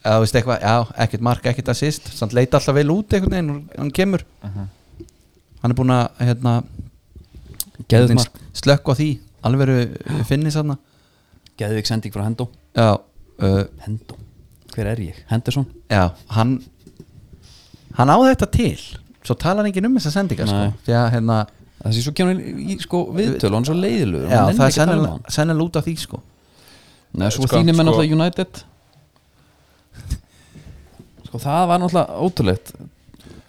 S2: eða þú veist eitthvað, já, ekkert mark, ekkert assist samt leita alltaf vel út einhvern veginn og hann kemur
S1: Mhm.
S2: hann er búin að hérna,
S1: Geðveikt
S2: hérna,
S1: mark.
S2: slökku á því alveg finni sann
S1: Geðvik sending frá Hendo
S2: já, uh,
S1: Hendo, hver er ég? Henderson?
S2: já, hann hann á þetta til svo talar enginn um þessa sendingar sko.
S1: Nei.
S2: því að hérna,
S1: Þessi svo kemur hann í, í sko, viðtölu, hann er svo leiðilugur
S2: já,
S1: hann
S2: það
S1: nennir
S2: er
S1: ekki að tala um
S2: sennilega,
S1: hann.
S2: sennilega út af því sko.
S1: Nei, svo
S3: Sko,
S1: sko, þínir menn
S3: sko-
S1: náttúrulega United Sko það var náttúrulega ótrúlegt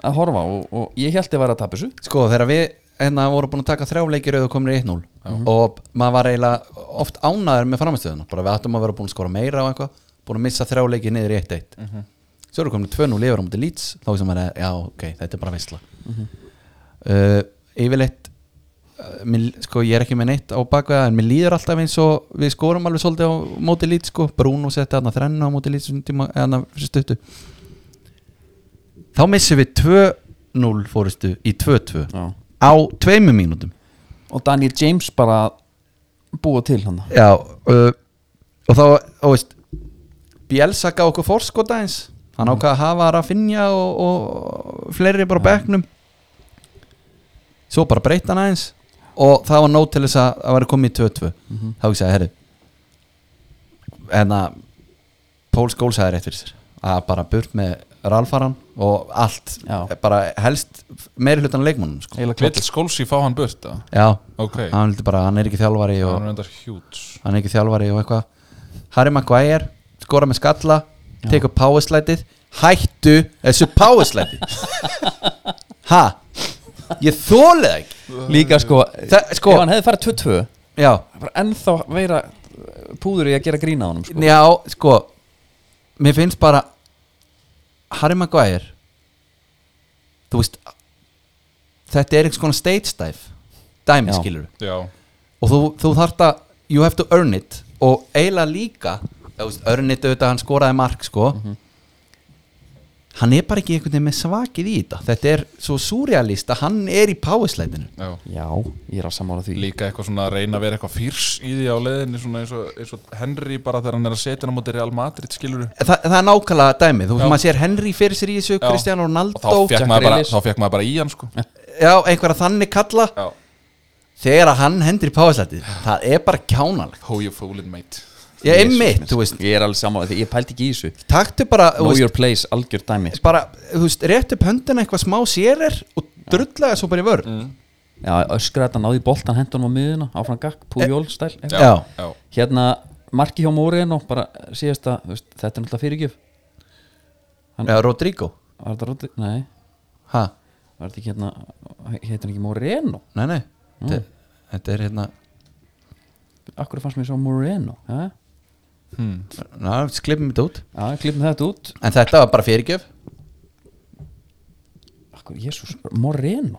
S1: að horfa og, og ég held ég var að tapa þessu
S2: sko, þegar við hérna vorum búin að taka þrjáleikir auðvitað komin í 1-0 og maður var eiginlega oft ánæður með framstöðuna, bara við ættum að vera búin að skora meira og eitthvað, búin að missa þrjáleikir niður í 1-1 svo eru komin 2-0 yfir á múti lýts, þá sem maður er, já ok þetta er bara visla uh, yfirleitt uh, mér, sko, ég er ekki með neitt á bakveða en mér líður alltaf eins og við skorum alveg svolítið á móti lýts, sko, Bruno setti þarna þrennu á móti lýts, þarna fyrir stuttu þá missum við 2-0 fórustu í 2-2
S1: Já.
S2: á tveimur mínútum
S1: og Daniel James bara búa til hann
S2: já uh, og þá og veist, Bielsa gaf okkur fórskota eins hann ákvað að hafa Rafinha og, og fleiri bara á bekknum svo bara breytta hann aðeins og það var nót til þess að það væri komið í 2-2 þá ekki segja, herri en að Pól Skóls hefði rétt fyrir sér að bara burt með ralfaran og allt,
S1: Já.
S2: bara helst meiri hlutan af leikmannum sko.
S1: Eila
S3: vill skólsi fá hann burt eða?
S2: já,
S3: ok,
S1: Ah,
S2: hann, vildi bara, hann er ekki þjálfari og,
S3: hann er endar hjút
S2: hann er ekki þjálfari og eitthvað Harry Maguire, skora með skalla tekur powerslætið hættu þessu powerslæti ha ég þóli það ekki
S1: Líka sko,
S2: Það- sko-
S1: ef hann hefði farið 22
S2: já,
S1: bara ennþá vera púður í að gera grína á honum sko.
S2: já, sko mér finnst bara Harry Maguire þú veist þetta er einhvers konar stage dive dæmi
S1: Já.
S2: skilur
S3: já,
S2: og þú, þú þarft að you have to earn it og eiginlega líka þú veist, earn it auðvitað hann skoraði mark sko
S3: Mhm.
S2: hann er bara ekki einhvern veginn með svakið í þetta þetta er svo surrealist að hann er í powerslætinu
S3: já
S1: Já, ég er að samála því
S3: líka eitthvað svona að reyna að vera eitthvað fýrs í því á leiðinni svona eins og, eins og Henry bara þegar hann er að setja hann á móti Real Madrid skilur
S2: Þa, það er nákvæmlega dæmi, þú veist
S3: Já.
S2: maður sér Henry fyrir sér í þessu, Cristiano
S3: og þá
S2: Ronaldo
S3: fekk
S1: Jack
S3: maður bara,
S1: Grealish.
S3: þá fékk maður bara í hann sko
S2: já, einhverja þannig kalla
S3: já,
S2: þegar að hann hendir í páðsættið það er bara kjánalegt
S3: Who you fooling mate
S2: ég er mitt, þú veist,
S1: Ég er alveg saman, ég pældi ekki í þessu
S2: taktu bara þú
S1: Know
S2: veist,
S1: your place, algjör dæmi sko.
S2: bara, þú veist, rétt upp höndina eitthvað smá sérir og drullega svo bara í vörn
S3: Mm.
S1: Já, öskraði þetta náði í boltan, hendunum á miðuna Áfram gakk, Pujol stæl eitthvað.
S2: Eh. Já.
S3: já.
S1: Hérna, marki hjá Moreno bara síðasta, þú veist, þetta er náttúrulega fyrirgjöf Hann-
S2: eða Rodrigo,
S1: Var þetta róti? Nei,
S2: ha,
S1: var þetta ekki hérna Heitir hann ekki Moreno?
S2: nei nei þetta, þetta er hérna
S1: Akkur fannst mér svo Moreno ja?
S2: ná, sklipum þetta út
S1: Já, klippum þetta út
S2: en þetta var bara fyrirgjöf
S1: Akkur, jésús, Moreno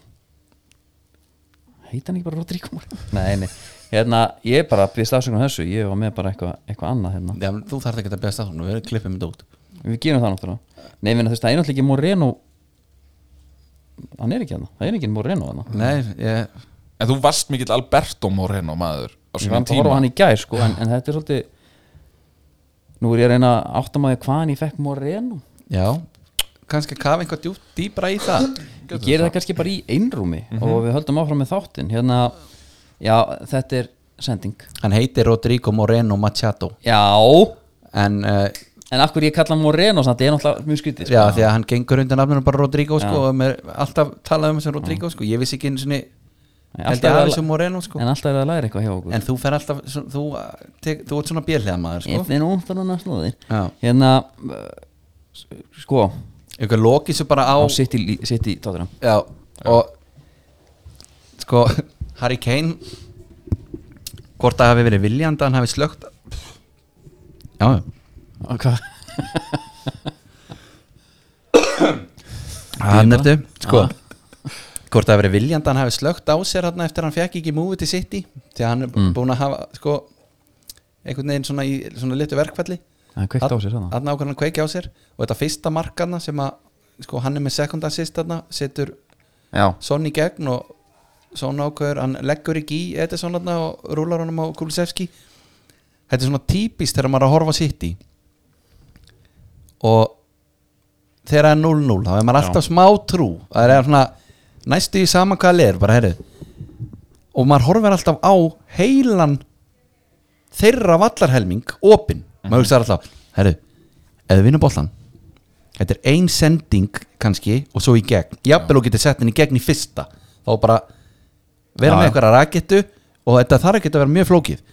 S1: Heita hann ekki bara Rodrigo Moreno? Nei, nei, hérna, ég bara býðst afsökunum þessu Ég var með bara eitthvað eitthva annað hérna
S2: Já, þú þarf ekki að beða stafnum, við klippum þetta út
S1: Við gerum það náttúrulega Nei, minna, þú veist, það er náttúrulega ekki Moreno Hann er ekki hann, það er ekki Moreno hann
S2: nei, ég,
S3: En þú varst mikill Alberto Moreno maður á
S1: Ég var
S3: sínum
S1: að horfa á
S3: tíma
S1: hann í gær, sko en, en þetta er svolítið Nú er ég að reyna að áttamæði hvaðan ég fekk Moreno
S2: já kannski að kafa einhvað djúpt dýbra í það
S1: Ég gerir það kannski bara í einrúmi
S2: Mhm.
S1: Og við höldum áfram með þáttinn Hérna, já, þetta er sending
S2: hann heitir Rodrigo Moreno Machado
S1: Já,
S2: en uh,
S1: En akkur ég kalla hann Moreno samt, ég er náttúrulega mjög skrítið
S2: já, því að hann gengur undir nafnunum bara Rodrigo sko, og með, alltaf talað um sem Rodrigo sko. ég vissi ekki einu sinni
S1: Nei,
S2: held
S1: alltaf
S2: ég
S1: er
S2: aðeins
S1: það-
S2: um Moreno sko.
S1: En alltaf er það að læra eitthvað hjá okkur
S2: en þú fer alltaf svo- þú, eh, tek, þú ert svona björlega maður sko.
S1: Þetta er nú það núna snúðir
S2: Já.
S1: Hérna, uh, sko
S2: ykkur lokið svo bara á,
S1: Á sitt í, sitt í tótturum
S2: já, og sko (laughs) Harry Kane hvort það hafi verið viljandi að hann hafi slögt já, já
S1: Hvað?
S2: hann ertu, sko hvort það hafi verið viljandi að hann hafi slögt á sér hann eftir að hann fekk ekki múið til City því að hann er mm. búin að hafa sko einhvern veginn svona í svona litu verkfalli
S1: Það er kveikt á sér
S2: Þarna
S1: sann
S2: ákveðan hann kveiki á sér og þetta fyrsta markana sem að sko hann er með second assist þarna setur
S1: Já
S2: Son í gegn og Son ákveður, hann leggur ekki í Edison þarna og rúlar honum á Kulusevski þetta er svona típist þegar maður er að horfa sitt í og þegar það er 0-0 þá er maður alltaf smá trú það er svona næstu í sama hvað það er bara herrið og maður horfir alltaf á heilan þeirra vallarhelming opinn,
S1: Mhm.
S2: maður hugsaði alltaf herru, eða vinna bollan þetta er ein sending kannski og svo í gegn, jafnvel og getur sett henni í gegn í fyrsta, þá bara vera
S1: Já,
S2: með
S1: já.
S2: eitthvað rakettu og þetta þarf ekki að vera mjög flókið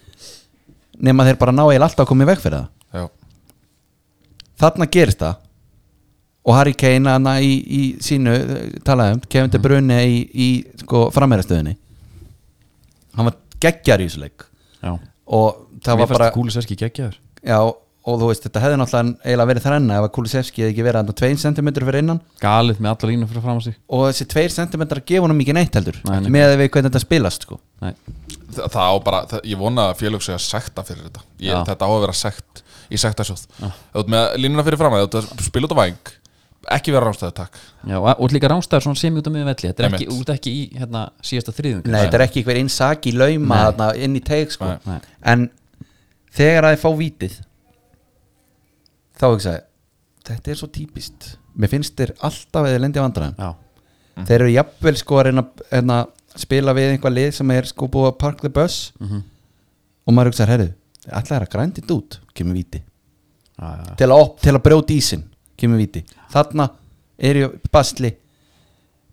S2: nema þeir bara ná eiginlega alltaf að koma í veg fyrir það
S3: Já,
S2: þarna gerist það og Harry Kane hana í, í sínu eh, talaði um, Kevin
S1: Mhm.
S2: De Bruyne í, í sko, framherjastöðinni hann var geggjar í þessu leik
S1: Já
S2: og
S1: Mér
S2: það var
S1: fannst
S2: bara
S1: Kúliserski geggjaður
S2: já, og þú veist, þetta hefði náttúrulega eiginlega verið þrenna ef að Kulisevski hefði ekki verið andan 2 cm fyrir innan
S1: Galið með alla línu fyrir fram á sig
S2: og þessi 2 cm gefa honum ekki neitt heldur
S1: Nei, nei.
S2: með að við hvernig þetta spilast sko.
S1: Nei
S3: það, það á bara, það, ég vona að félög segja sekta fyrir þetta ég,
S1: Já.
S3: Þetta á að vera sekt í sektasjóð Þú ert með línuna fyrir fram að þú spila út á væng Ekki vera rámstæðu, takk
S1: Já, og og líka rángstæður svona sem út af miðum velli Þetta er ekki,
S3: Einmitt.
S1: út ekki í hérna síðasta þriðung
S2: Nei, þetta er ekki einhver innsaki lauma þarna, inn í teig sko.
S3: Nei.
S1: Nei.
S2: en þegar að þið fá vítið þá hugsaði þetta er svo típist mér finnst þér alltaf eða lendi vandræðan
S1: Já
S2: þeir eru jafnvel sko að reyna hérna, spila við einhvað lið sem er sko búið að park the bus
S1: Mhm.
S2: og maður hugsaði, herru, alltaf er að grændi þetta út kemur víti,
S1: Já, já,
S2: til að, op, til að brjóta ísin kemur víti, þarna er ég basli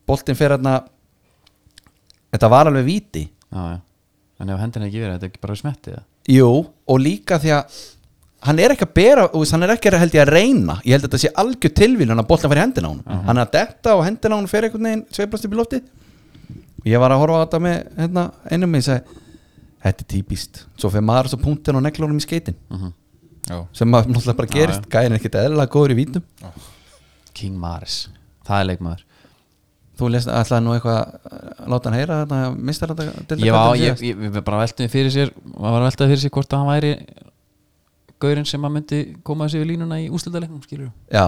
S2: boltinn fer hérna þetta var alveg víti
S1: já, já En ef hendina ekki verið, þetta er ekki bara smettið
S2: Jú, og líka því að hann er ekki að bera, þú veist, hann er ekki að held ég að reyna ég held að þetta sé algjör tilvílun að boltan fær í hendina á hún hann er að detta og hendina á hún fyrir einhvern veginn sveiflast upp í lofti og ég var að horfa á þetta með hérna, einum mig segi, þetta er típist svo fyrir maður svo punktin og neglunum í skeitin
S3: Já,
S2: sem maður náttúrulega bara gerist, gæðin er ekkert eðla góður í vítum
S1: King Maris Það er leikmaður
S2: þú lest alltaf nú eitthvað að láta hann heyra þarna mistar þetta
S1: ég var, ég, ég, við bara veltum fyrir sér maður var að velta fyrir sér hvort að hann væri gaurinn sem að myndi koma þessi við línuna í úslitaleiknum skilur
S2: já,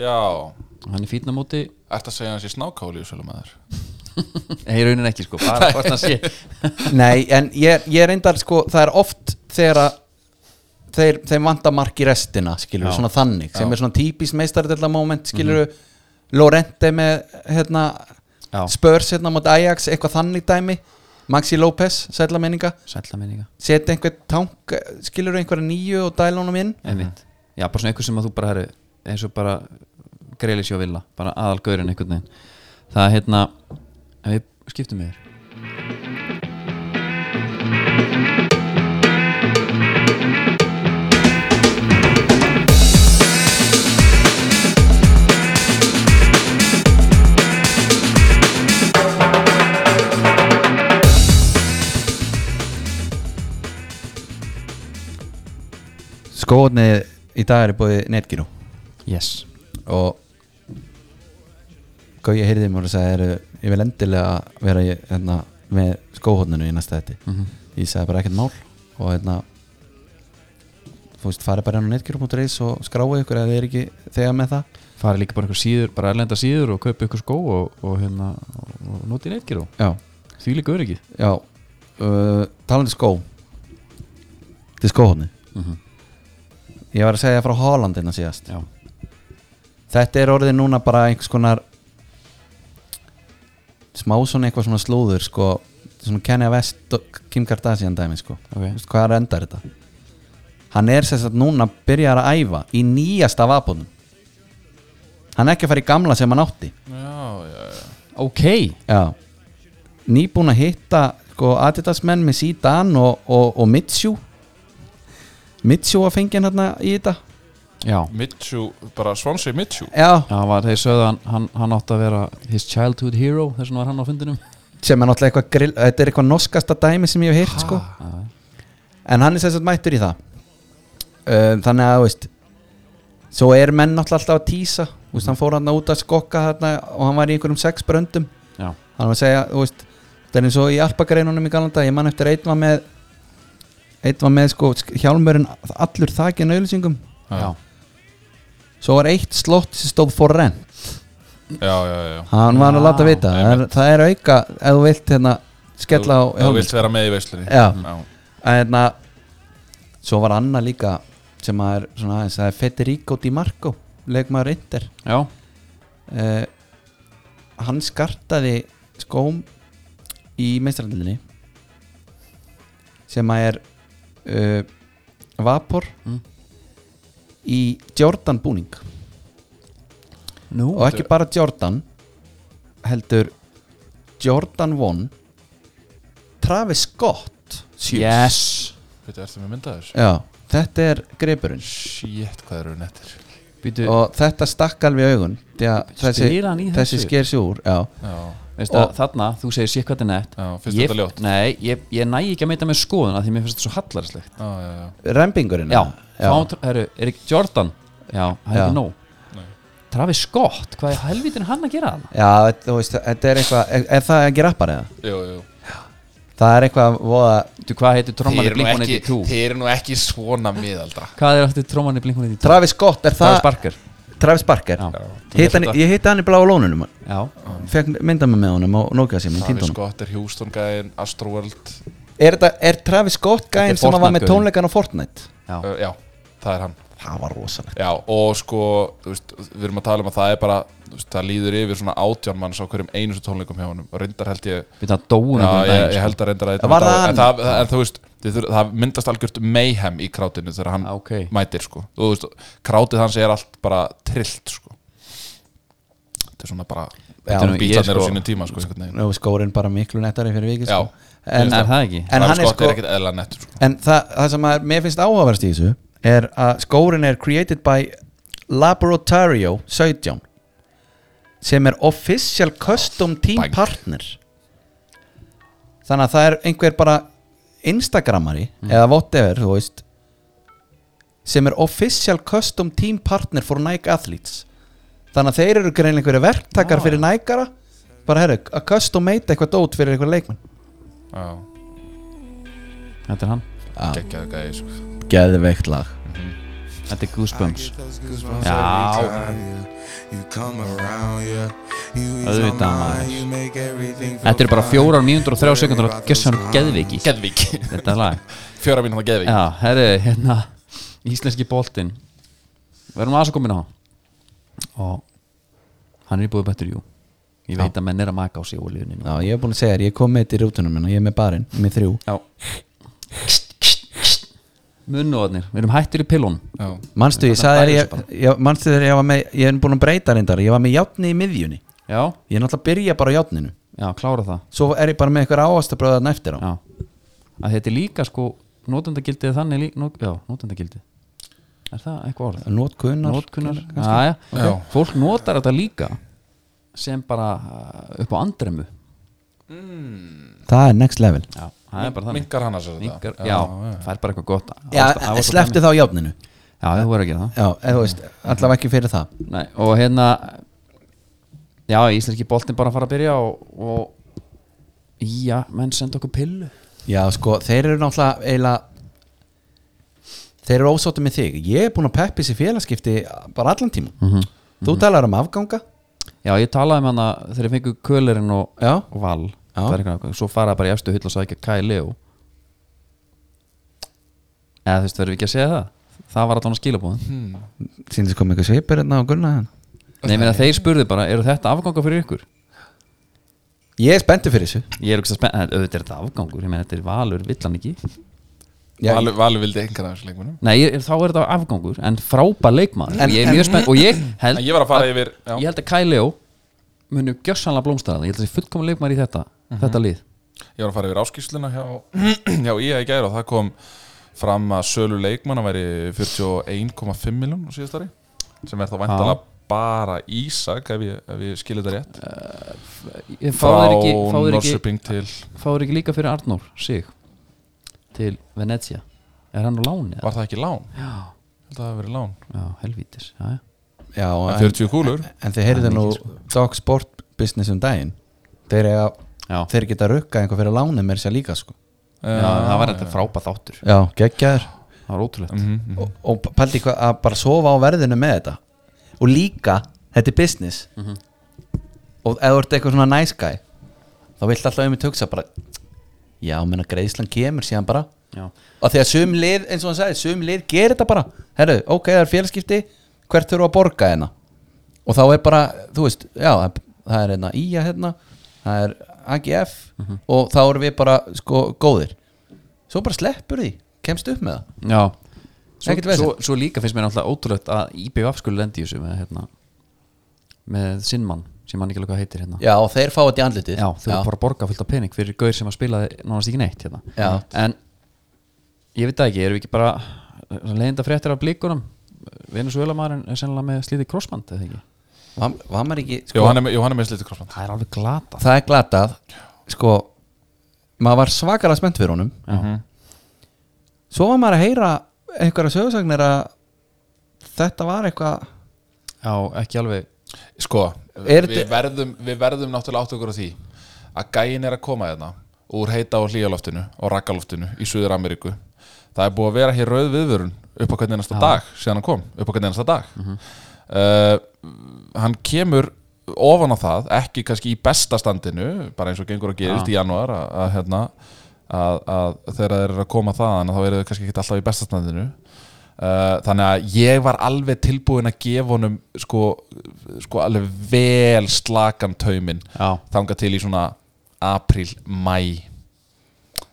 S3: já
S1: hann er fínn á móti
S3: Ert að segja hans í snákáli, svolum maður
S1: nei, raunin ekki sko, (laughs) bara hvort hann sé
S2: (laughs) Nei, en ég, ég reyndar sko það er oft þegar að þeir, þeir vanta mark í restina skilur,
S1: Já.
S2: svona þannig, sem er svona típist meistardella moment, skilur mm Lorente með hérna
S1: Já.
S2: Spurs hérna mot Ajax, eitthvað þannig dæmi Maxi López, sætla menninga
S1: Sætla minninga
S2: setja einhver tank, skilur einhverja nýju og dæla honum inn
S1: Einmitt Já, bara svona einhver sem að þú bara herri eins og bara greilis og vilja bara aðalgaurinn einhvern veginn Það er hérna ef Við skiptum yfir
S2: skóðni í dag er búið netgíru
S1: Yes
S2: og Gauja heyrði mér og sagði "Heyrðu, ég vil endilega vera í, hérna, með skóhóðninu í næsta þetta ég sagði bara ekkert mál og hérna þú veist, farið bara inn á netgíru.is og skráið ykkur eða þið er ekki þegar með það
S1: Farið líka bara einhver síður, bara erlenda síður og kaupi ykkur skó og, og hérna og, og notið neittgir og
S2: já,
S1: því líka öryggið
S2: já uh, talandi skó Mhm. til skóhóðni ég var að segja frá Hollandina síðast
S1: Já
S2: þetta er orðið núna bara einhvers konar smá svona eitthvað svona slúður sko, svona Kanye West og Kim Kardashian dæmi sko
S1: Ok.
S2: Vist, hvað er endar þetta hann er sem sagt núna byrjar að æfa í nýjasta vapónum hann er ekki að fara í gamla sem hann átti
S3: já, já, já.
S1: Ok
S2: já nýbúin að hitta sko, Adidas menn með Zidane og, og, og Mitsu Mitsu að fengja hann hérna í þetta
S1: Já
S3: Mitchu, bara Swansea Mitchu
S2: já,
S1: Já, hann var, þeir sögðu hann, hann, hann átti að vera his childhood hero, þess vegna var hann á fundinum
S2: sem er náttúrulega eitthvað grill þetta er eitthvað norskasta dæmi sem ég hef heyrt sko. en hann er sem sagt mættur í það um, þannig að þú veist svo er menn náttúrulega alltaf að tísa þú veist, hann fór hann út að skokka þarna og hann var í einhverjum sex bröndum
S1: Já,
S2: hann var að segja, þú veist, það er eins og í alpagreinunum í galanda, ég man eftir að einn var með einn var með sko hjálmurinn allur þakinn auðlýsingum
S1: já,
S2: svo var eitt slott sem stóð for rent
S3: Já, já, já
S2: hann var að
S1: Já,
S2: láta vita, það er, það er auka ef þú vilt hérna skella á
S3: Ef Þú
S2: hjálminn,
S3: vilt Mm. vera með í veislunni
S2: Já.
S3: já.
S2: að hérna svo var annað líka sem að er svona aðeins, það er Federico Di Marco leikmaður Inter
S1: já,
S2: uh, hann skartaði skóm í meistrandlinni sem að er uh, vapor
S1: Mm.
S2: í Jordan búning
S1: nú
S2: og ekki bara Jordan heldur Jordan 1 Travis Scott sjö.
S1: Yes
S3: Veitu, ertu með myndaður?
S2: Já, þetta er gripurinn
S3: Shit, hvað eru nettir
S1: Býtu,
S2: og þetta stakk alveg í augun því að þessi,
S1: Spyr hann í
S2: þessi
S1: þessu?
S2: sker sér úr já.
S3: Já,
S1: veistu að
S2: og-
S1: þarna, þú segir sér hvað þetta er nett
S3: já, finnst
S1: Ég-
S3: þetta ljótt
S1: Nei, ég, ég næ ekki að meita með skoðuna því mér finnst þetta svo hallarslegt
S3: Já, já, já
S2: rempingurinn
S1: Já,
S2: já.
S1: þá, heru, er ekki Jordan Já, hann er
S2: Já.
S1: ekki nóg
S3: Nei.
S1: Travis Scott, hvað er helvitin hann að gera hann?
S2: já þetta- þú veist, þetta er eitthvað er, er það ekki rappar eða?
S3: Jú, jú
S2: það er eitthvað voða
S1: Þú, hvað heitir trómanni
S3: Þeir eru nú ekki-
S1: Blink-182?
S3: þeir eru nú ekki svona miðalda
S1: Hvað er aftur trómanni Blink-182?
S2: Travis Scott, er það
S1: Travis Barker
S2: Travis Barker
S1: Já,
S2: Hitt hann, ég hitti hann í bláa lónunum
S1: já,
S2: fekk mynda mig með honum og Nokia sem ég týndi
S3: Travis
S2: honum
S3: Scott er Houston gæðin, Astroworld
S2: er, þetta, er Travis Scott
S1: Þetta
S2: gæinn
S1: er
S2: sem hann var með
S1: Fortnite-gaurinn.
S2: tónleikan á Fortnite
S1: já.
S3: uh, Já, það er hann
S2: það var rosalegt
S3: Já, og sko, þú veist, við erum að tala um að það er bara þú veist, Það líður yfir svona átján manns á hverjum einustu tónleikum hjá honum Og reyndar held ég
S1: Við það dóum
S3: Já, ég,
S1: sko.
S3: ég held að reyndar að
S2: Það var það
S3: en, það, en þú veist, þið þurfa- það myndast algjört mayhem í krátinu þegar hann
S1: Ah, Ok.
S3: mætir sko. þú veist, krátið hans er allt bara trillt sko. þetta er svona bara
S1: Þetta er nú- ég
S3: bítarnir
S1: sko-
S3: á sínum tíma sko, einhvern veginn.
S2: og skórin bara miklu nettari fyrir vikið
S3: já,
S2: sko. en,
S1: Er það ekki?
S2: en hann er
S3: skott
S2: sko
S3: er ekkert eðla nett sko.
S2: En það, það sem að mér finnst áhugaverst í þessu er að skórin er created by Laboratorio 17 sem er official custom team
S3: Bang.
S2: partner þannig að það er einhver bara Instagramari eða whatever þú veist sem er official custom team partner for Nike athletes þannig að þeir eru greinlega einhverju verktakar fyrir Nike-ara bara herru, að custom made eitthvað dót fyrir einhver leikmann
S3: já,
S1: Þetta er hann
S3: geggjaðu gæði sko.
S2: Geðveikt lag
S1: Þetta er Goosebumps
S5: Já You come around, yeah You ease my
S1: Auðvitað, maður.
S5: mind, you make everything feel
S1: Þetta eru bara
S5: fine.
S1: 4 og 903 sekundar og gessan geðviki
S3: Geðvík,
S1: Þetta er lag
S3: fjóra mínu það Geðvík
S1: Já, herri, hérna Íslenski boltinn Verðum aðeins að komin á hann. Og hann er í búið betur, jú Ég veit að menn er að maka á sig olíunni
S2: Já, ég hef búin að segja þér, ég kom með þetta í rútunum minna, ég er með barinn, með þrjú
S1: Já Munnóðnir, við erum hættir í pillun
S3: Já.
S2: Manstu, ég sagði þér, ég, ég, manstu þér, ég var með, ég er búin að breyta reyndar, ég var með játni í miðjunni
S1: Já,
S2: Ég er náttúrulega að byrja bara á játninu
S1: já, klára það
S2: Svo er ég bara með eitthvað áastabröðan eftir á
S1: Já, að þetta er líka sko notendagildið er þannig líka, not, já, notendagildið Er það eitthvað orð?
S2: Nótkunnar
S1: Notkunar, já, já,
S3: Já.
S1: fólk notar þetta líka sem bara uh, upp á andremu
S2: Það er next level
S1: Já, það er bara þannig
S3: Minkar hann að sér þetta
S1: Minkar, já, það er bara eitthvað gott
S2: Já, eh,
S1: Ávaxta- ávaxta-
S2: slepptu þá játninu
S1: Já, þú verður að gera það
S2: Já, eða þú veist, allavega ekki fyrir það
S1: Nei, og hérna já, íslenski boltinn bara að fara að byrja og, og já, menn senda okkur pillu
S2: Já, sko, þeir eru náttúrulega eiginlega Þeir eru ósáttu með þig Ég er búin að peppi sér félagskipti bara allan tíma Þú talar um afganga
S1: já, ég talaði með hana þegar ég fengu kölurinn og,
S2: Já,
S1: og val
S2: Já.
S1: Það er eitthvað ákveð. svo faraði bara í efstu hull og sagði ekki að kæli og eða þú veist, verðum við ekki að segja það það var allan að skilabúðin hmm.
S2: síndist kom eitthvað svipur hérna á Gunna hann
S1: Nei, meina, þeir spurðu bara, eru þetta afgangar fyrir ykkur?
S2: Ég er spenntur fyrir þessu
S1: Ég er ekki að spenna, auðvitað er þetta afgangur ég meina, þetta er valur, vill hann ekki
S2: Já,
S3: Valur Valur vildi engan af þessu leikmunum
S1: Nei, ég, þá er þetta afgangur, en frábær leikmaður
S2: En-
S1: en, Ég er
S2: en-
S1: mjög spennt og ég (clears throat) held
S3: En ég var að fara yfir já.
S1: Ég held að Kyle Leo muni gjössanlega blómstæða Ég held að það sé fullkomun leikmaður í þetta,
S3: Mhm.
S1: þetta lið
S3: Ég var að fara yfir áskýsluna hjá, (clears throat) hjá IA í gæri og það kom fram að sölu leikmanna væri 41,5 miljón á síðastari sem er þá væntalega bara Ísak ef ég, ef ég skilir þetta rétt
S1: Ég- Fá
S3: frá
S1: þeir ekki, fá þeir ekki,
S3: Norsuping til
S1: fá þeir ekki líka fyrir Arnór sig til Venezia Er hann á láni? eða?
S3: var það ekki lán?
S1: Já,
S3: Held að það hafi verið lán
S1: já, helvítis já, já.
S2: já
S3: en
S2: en,
S3: 40 kúlur
S2: en þið heyrðu
S1: Það er
S2: nú
S1: mikið, sko.
S2: Dog Sport Business um daginn Þeir, eiga,
S1: Já.
S2: þeir geta rukka einhver fyrir láni mér sér líka sko
S1: Já, það var þetta frábær þáttur
S2: Já, geggjaður
S1: Það var
S3: Eh,
S1: ótrúlegt
S3: Mhm.
S2: og, og pældi hvað að bara sofa á verðinu með þetta og líka, þetta er business
S1: Mhm.
S2: og ef þú ert eitthvað svona nice guy þá vilt alltaf um í töksa bara já, menna greiðslan kemur síðan bara
S1: Já.
S2: og því að sum lið, eins og hann sagði, sum lið gerir þetta bara, herru, ok, það er félskipti hvert þurfa að borga hérna og þá er bara, þú veist, já það- það er hérna IA hérna það er AGF
S1: Mhm.
S2: og þá erum við bara sko góðir svo bara sleppur því, kemst upp með það
S1: Já Svo,
S2: Ekkert vesen.
S1: svo, svo líka finnst mér náttúrulega ótrúlegt að IBF skulle lendi í þessu með, hérna, með sinnmann sem hann ekki alveg hvað heitir hérna
S2: Já, og þeir fá þetta í andlitið
S1: Já, þau eru bara að borga fullt af pening fyrir gaur sem að spilaði nánast ekki neitt hérna.
S2: Já.
S1: En ég veit það ekki, erum við ekki bara eh, leiðinda fréttir af blíkunum Venezuela maðurinn er sennilega með slítið krossband eða ekki?
S2: Var, var maður ekki, sko,
S3: Jó, hann er með, jú, hann er með slítið krossband
S1: Það er alveg glata
S2: það er glatað Sko, maður var svakalega spennt fyrir honum
S3: Mhm.
S1: Já.
S2: Svo var maður að heyra einhverja sögursagnir að þetta var eitthvað
S1: Já, ekki alveg
S3: Sko,
S2: Er
S3: við
S2: þetta-
S3: verðum, við verðum náttúrulega átt okkur á því að gæin er að koma hérna úr heita og hlíjaloftinu og rakkaloftinu í Suður Ameríku það er búið að vera hér rauð viðvörun upp á hvernig ennasta dag síðan hann kom, upp á hvernig ennasta dag
S2: Mhm.
S3: uh, hann kemur ofan á það, ekki kannski í besta standinu, bara eins og gengur að gerist í janúar að, að hérna að, að þegar þeir eru að koma þaðan þá eru þau kannski ekki alltaf í besta standinu Uh, þannig að ég var alveg tilbúin að gefa honum sko, sko alveg vel slakan tauminn
S1: Já.
S3: þanga til í svona apríl, mæ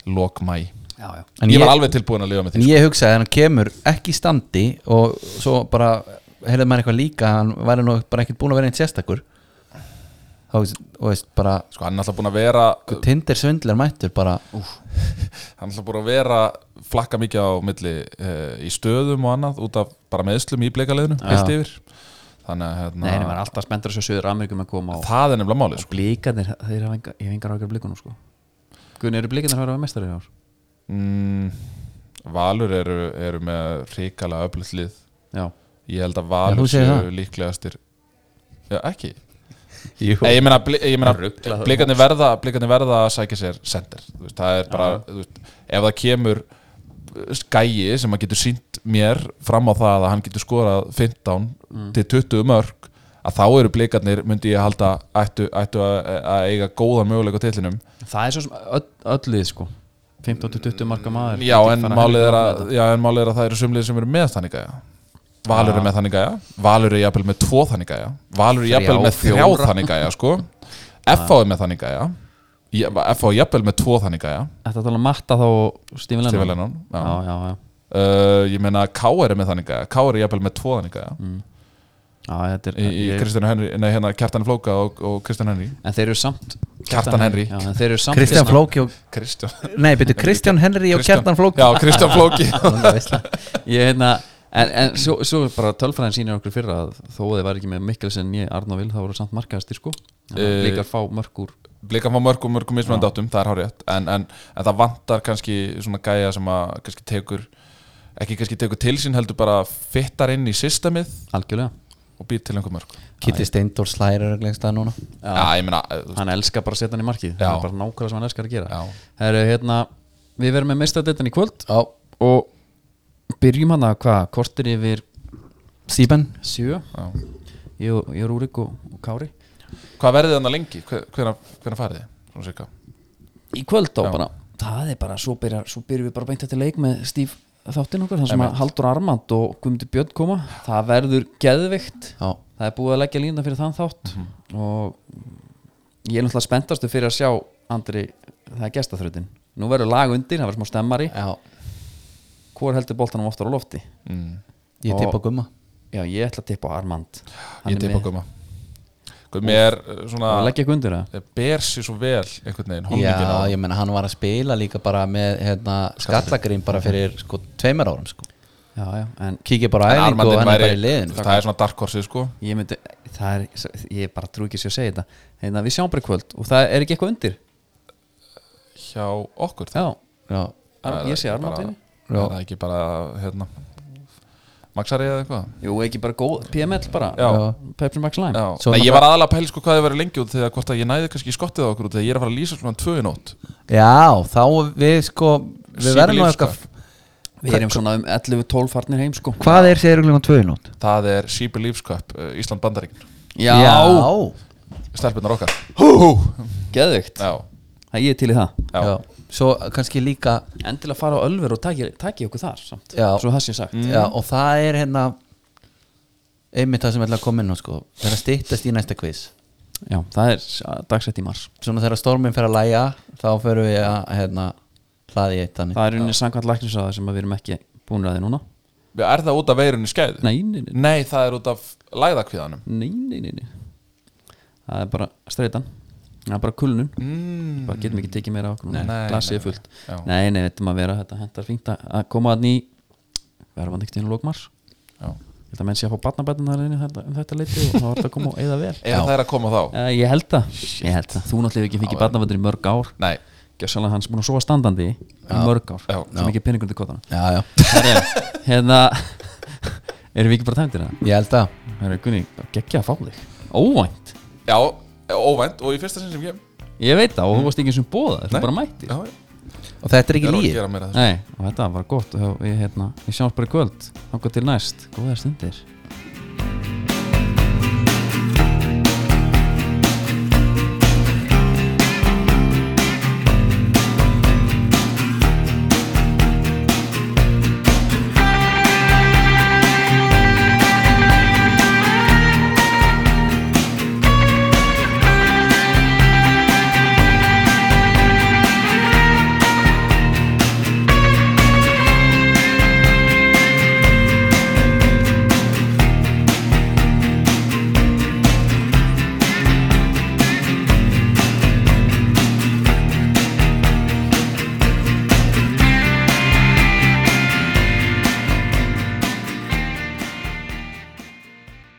S3: lok mæ
S1: Já, já
S2: En
S3: ég, var
S2: ég-
S3: alveg sko. tilbúin að lifa með
S2: En
S3: því
S2: ég hugsaði að hann kemur ekki í standi og svo bara heyrði maður eitthvað líka að hann væri nú bara ekkert búin að vera einn sérstakur þá veist, og veist bara
S3: sko, hann er alltaf búin að vera
S2: Tinder svindlar mættur bara
S3: hann er alltaf búin að vera flakka mikið á milli uh, í stöðum og annað út af bara meðslum í bleikaliðinu heilt yfir þannig að
S1: Nei, það var
S3: hérna,
S1: alltaf spenntur þessu Suður Amerikum að koma og,
S3: það er nefnilega málið
S1: og
S3: sko.
S1: blíkanir, þeir hafa engar, ég hef engar ákjör blíkunum sko Gunni, eru blíkanir að vera mestari í ár?
S3: mm, Valur eru, eru með ríkala öflutlið
S1: Já,
S3: Ég held að
S2: Já, þú
S3: Valur
S2: segir
S3: séu
S2: það.
S3: líklegastir Já, ekki
S2: Jú.
S3: Nei, ég meina, bli- ég meina
S1: Ruglað.
S3: blikarnir verða, blikarnir verða að sækja sér sendir þú veist, það er bara, þú veist, ef það kemur skæi sem að getur sínt mér fram á það að hann getur skorað 15 til 20 mörg að þá eru blikarnir, myndi ég halda ættu, ættu að, að eiga góðan möguleika á titlinum
S1: það er svo sem öll, öll lið sko 15-20 marka maður
S3: Já,
S1: Ekki
S3: en
S1: fara
S3: málið, er
S1: helmingur
S3: að, já, en málið er að það eru sumlið sem eru með þannig gæja Valur er með þannig gæja Valur er jafnvel með tvo þannig gæja Valur er
S1: Þrjá,
S3: jafnvel með þrjá
S1: fjóra.
S3: þannig gæja sko. FH er með þannig gæja Ég- FH er jafnvel með tvo þannig gæja
S1: Þetta tala um matta þá og Stífi Lennon
S3: Steve Lennon já.
S1: Já, já, já,
S3: Uh, Ég meina KR er með þannig gæja KR er jafnvel með tvo þannig gæja
S1: já þetta er,
S3: Í, í
S1: Mm, ég,
S3: Kristján Henry, nei hérna Kjartan Flóka og, og Kristján Henry
S1: En þeir eru samt
S3: Kjartan Henry.
S1: já, en Þeir eru samt
S2: Kristján
S1: hérna-
S2: Flóki og
S3: Kristján
S2: Nei, betur Kristján Henry og Kjartan Flóki
S3: Já,
S1: (laughs)
S3: Kristján Flóki
S1: Ég hérna En, en svo, svo er bara tölfræðin sýnir okkur fyrra að þó að þið var ekki með Mikkelsen ég Arna Vil þá voru samt markaðastir sko Þannig að
S3: Eh,
S1: líka fá mörg úr
S3: Blika fá mörgum, mörgum mismunandi áttum, það er hárétt en, en, en það vantar kannski svona gæja sem að kannski tekur ekki kannski tekur til sín heldur bara fittar inn í systemið
S1: algjörlega
S3: og býr til einhver mörg Já,
S2: Kitty Steindor slærir lengst að núna
S3: ég meina eh, þú veist,
S1: hann elskar bara að setja hann í markið það er bara nákvæmlega sem hann elskar að gera
S3: Já.
S1: Heru, hérna, við verum með meistadeltan í kvöld
S2: Já
S1: og byrjum hann að hvað kortir yfir
S2: Sýben
S1: sjö
S3: já.
S1: ég, og- ég, Rúrik og, og Kári
S3: Hvað verðið þannig lengi? Hvernig farið þið? Svona cirka
S1: í kvöld þá
S3: Já.
S1: bara það er bara, svo byrjar, svo byrjum við bara beint þetta leik með Stíf þáttinn okkar, þannig sem að Haldur Armand og Guðmundur Björn koma, það verður geðvikt,
S2: Já.
S1: það er búið að leggja línda fyrir þann þátt
S3: Mhm.
S1: og ég er náttúrulega spenntastu fyrir að sjá Andri, það er gestaþrautin nú verður lag undir, það verður smá stemmari
S2: Já
S1: hvor heldur boltanum oftar á lofti
S3: mm.
S2: Ég
S1: Og-
S2: tippa gumma
S1: já, ég ætla að tippa á Armand Hann
S3: Ég um
S1: er
S3: teipa
S1: með-
S3: Guma Gumi er eh, svona eh,
S1: að leggja ekki undir það
S3: ber sér svo vel einhvern veginn
S2: Já,
S3: honglingin á
S2: ég menna hann var að spila líka bara með hérna, skallagrim bara fyrir sko tveimur árum sko
S1: já, já, en
S2: Kíkja bara á
S3: En
S2: æfingu og
S3: Armandinn
S2: hann er bara í
S3: væri,
S2: liðin
S3: það er svona dark horse sko
S1: ég myndi það er, ég bara trú ekki sér að segja þetta hérna, við sjáum bara í kvöld og það er ekki eitthvað undir
S3: hjá okkur
S1: já,
S2: Já,
S1: Ar,
S3: það
S1: ég sé
S3: ekki
S1: Armand
S3: bara-
S1: inni.
S3: Er Það er ekki bara hérna Maxari eða eitthvað
S1: jú, ekki bara góð, PML bara
S3: Já.
S1: Pepsi Max Lime
S3: Já,
S2: Svo
S3: Nei, ég
S2: náttúrulega-
S3: var aðalega að pæla sko hvað þið verið lengi út þegar hvort að ég næði kannski í skottið á okkur út þegar ég er að fara að lýsa svona tvö í nótt
S2: Já, þá við sko Við verðum nú
S3: Sýbilífskap.
S2: eitthvað
S1: við erum svona um 11-12 farnir heim sko
S2: Hvað er segir klukkan tvö í nótt?
S3: Það er She Believes Cup, uh, Ísland Bandaríkin
S1: já,
S3: Stelpunar okkar
S1: geðvikt
S3: Já,
S1: það ég er til í það
S3: já,
S2: Já. Svo kannski líka
S1: endilega fara á Ölver og taki, taki okkur þar samt,
S2: Já.
S1: svo það sé sagt
S2: Já, og það er hérna einmitt það sem ég ætla að koma inn á sko það er að styttast í næsta quiz
S1: já, það er dagsett í mars
S2: svona þegar stormin fer að læja þá förum við að hérna hlaði í eitt þannig
S1: það er unni samkvæmt læknisraða sem að við erum ekki búin að þið núna
S3: Er það út af veirunni skæð?
S1: nei, nei, nei,
S3: Nei, það er út af læðakviðanum
S1: nei, nei, nei, nei. það er bara streitan það er bara kulnun
S3: mm.
S1: bara getum ekki tekið meira á okkur
S3: Nei,
S1: núna.
S3: nei,
S1: glasið er
S3: nei,
S1: fullt
S3: nei. Já.
S1: nei, nei, þetta maður vera þetta hendar fínt að að koma að ný verður maður ekki inn á lókmars
S3: Já.
S1: þetta menn sé að fá barnabætun þar inn þetta, um þetta leiti og þá var þetta að koma og eða vel
S3: Ef það er að koma þá
S1: uh, ég held það, ég held það þú náttúrulega hefur ekki fikið barnabætun í mörg ár
S3: Nei,
S1: gjössalega hans búin að sofa standandi í mörg ár,
S3: Já.
S1: sem ekki peningur til kotana
S2: Já, já,
S1: hérna erum við ekki bara tæmdir það?
S2: ég held að
S1: Herra, Gunni, geggja að fá þig óvænt,
S3: já, óvænt og í fyrsta sinn sem ég
S1: ég veit það og þú varst ekki sem bóða, þú
S3: Nei.
S1: bara mættir
S3: Já, já,
S2: og þetta er
S3: ég
S2: ekki
S3: er að
S2: líð
S3: gera meira af þessu
S1: Nei, og þetta var gott og við, hérna, við sjáumst bara í kvöld, þangað til næst góðar stundir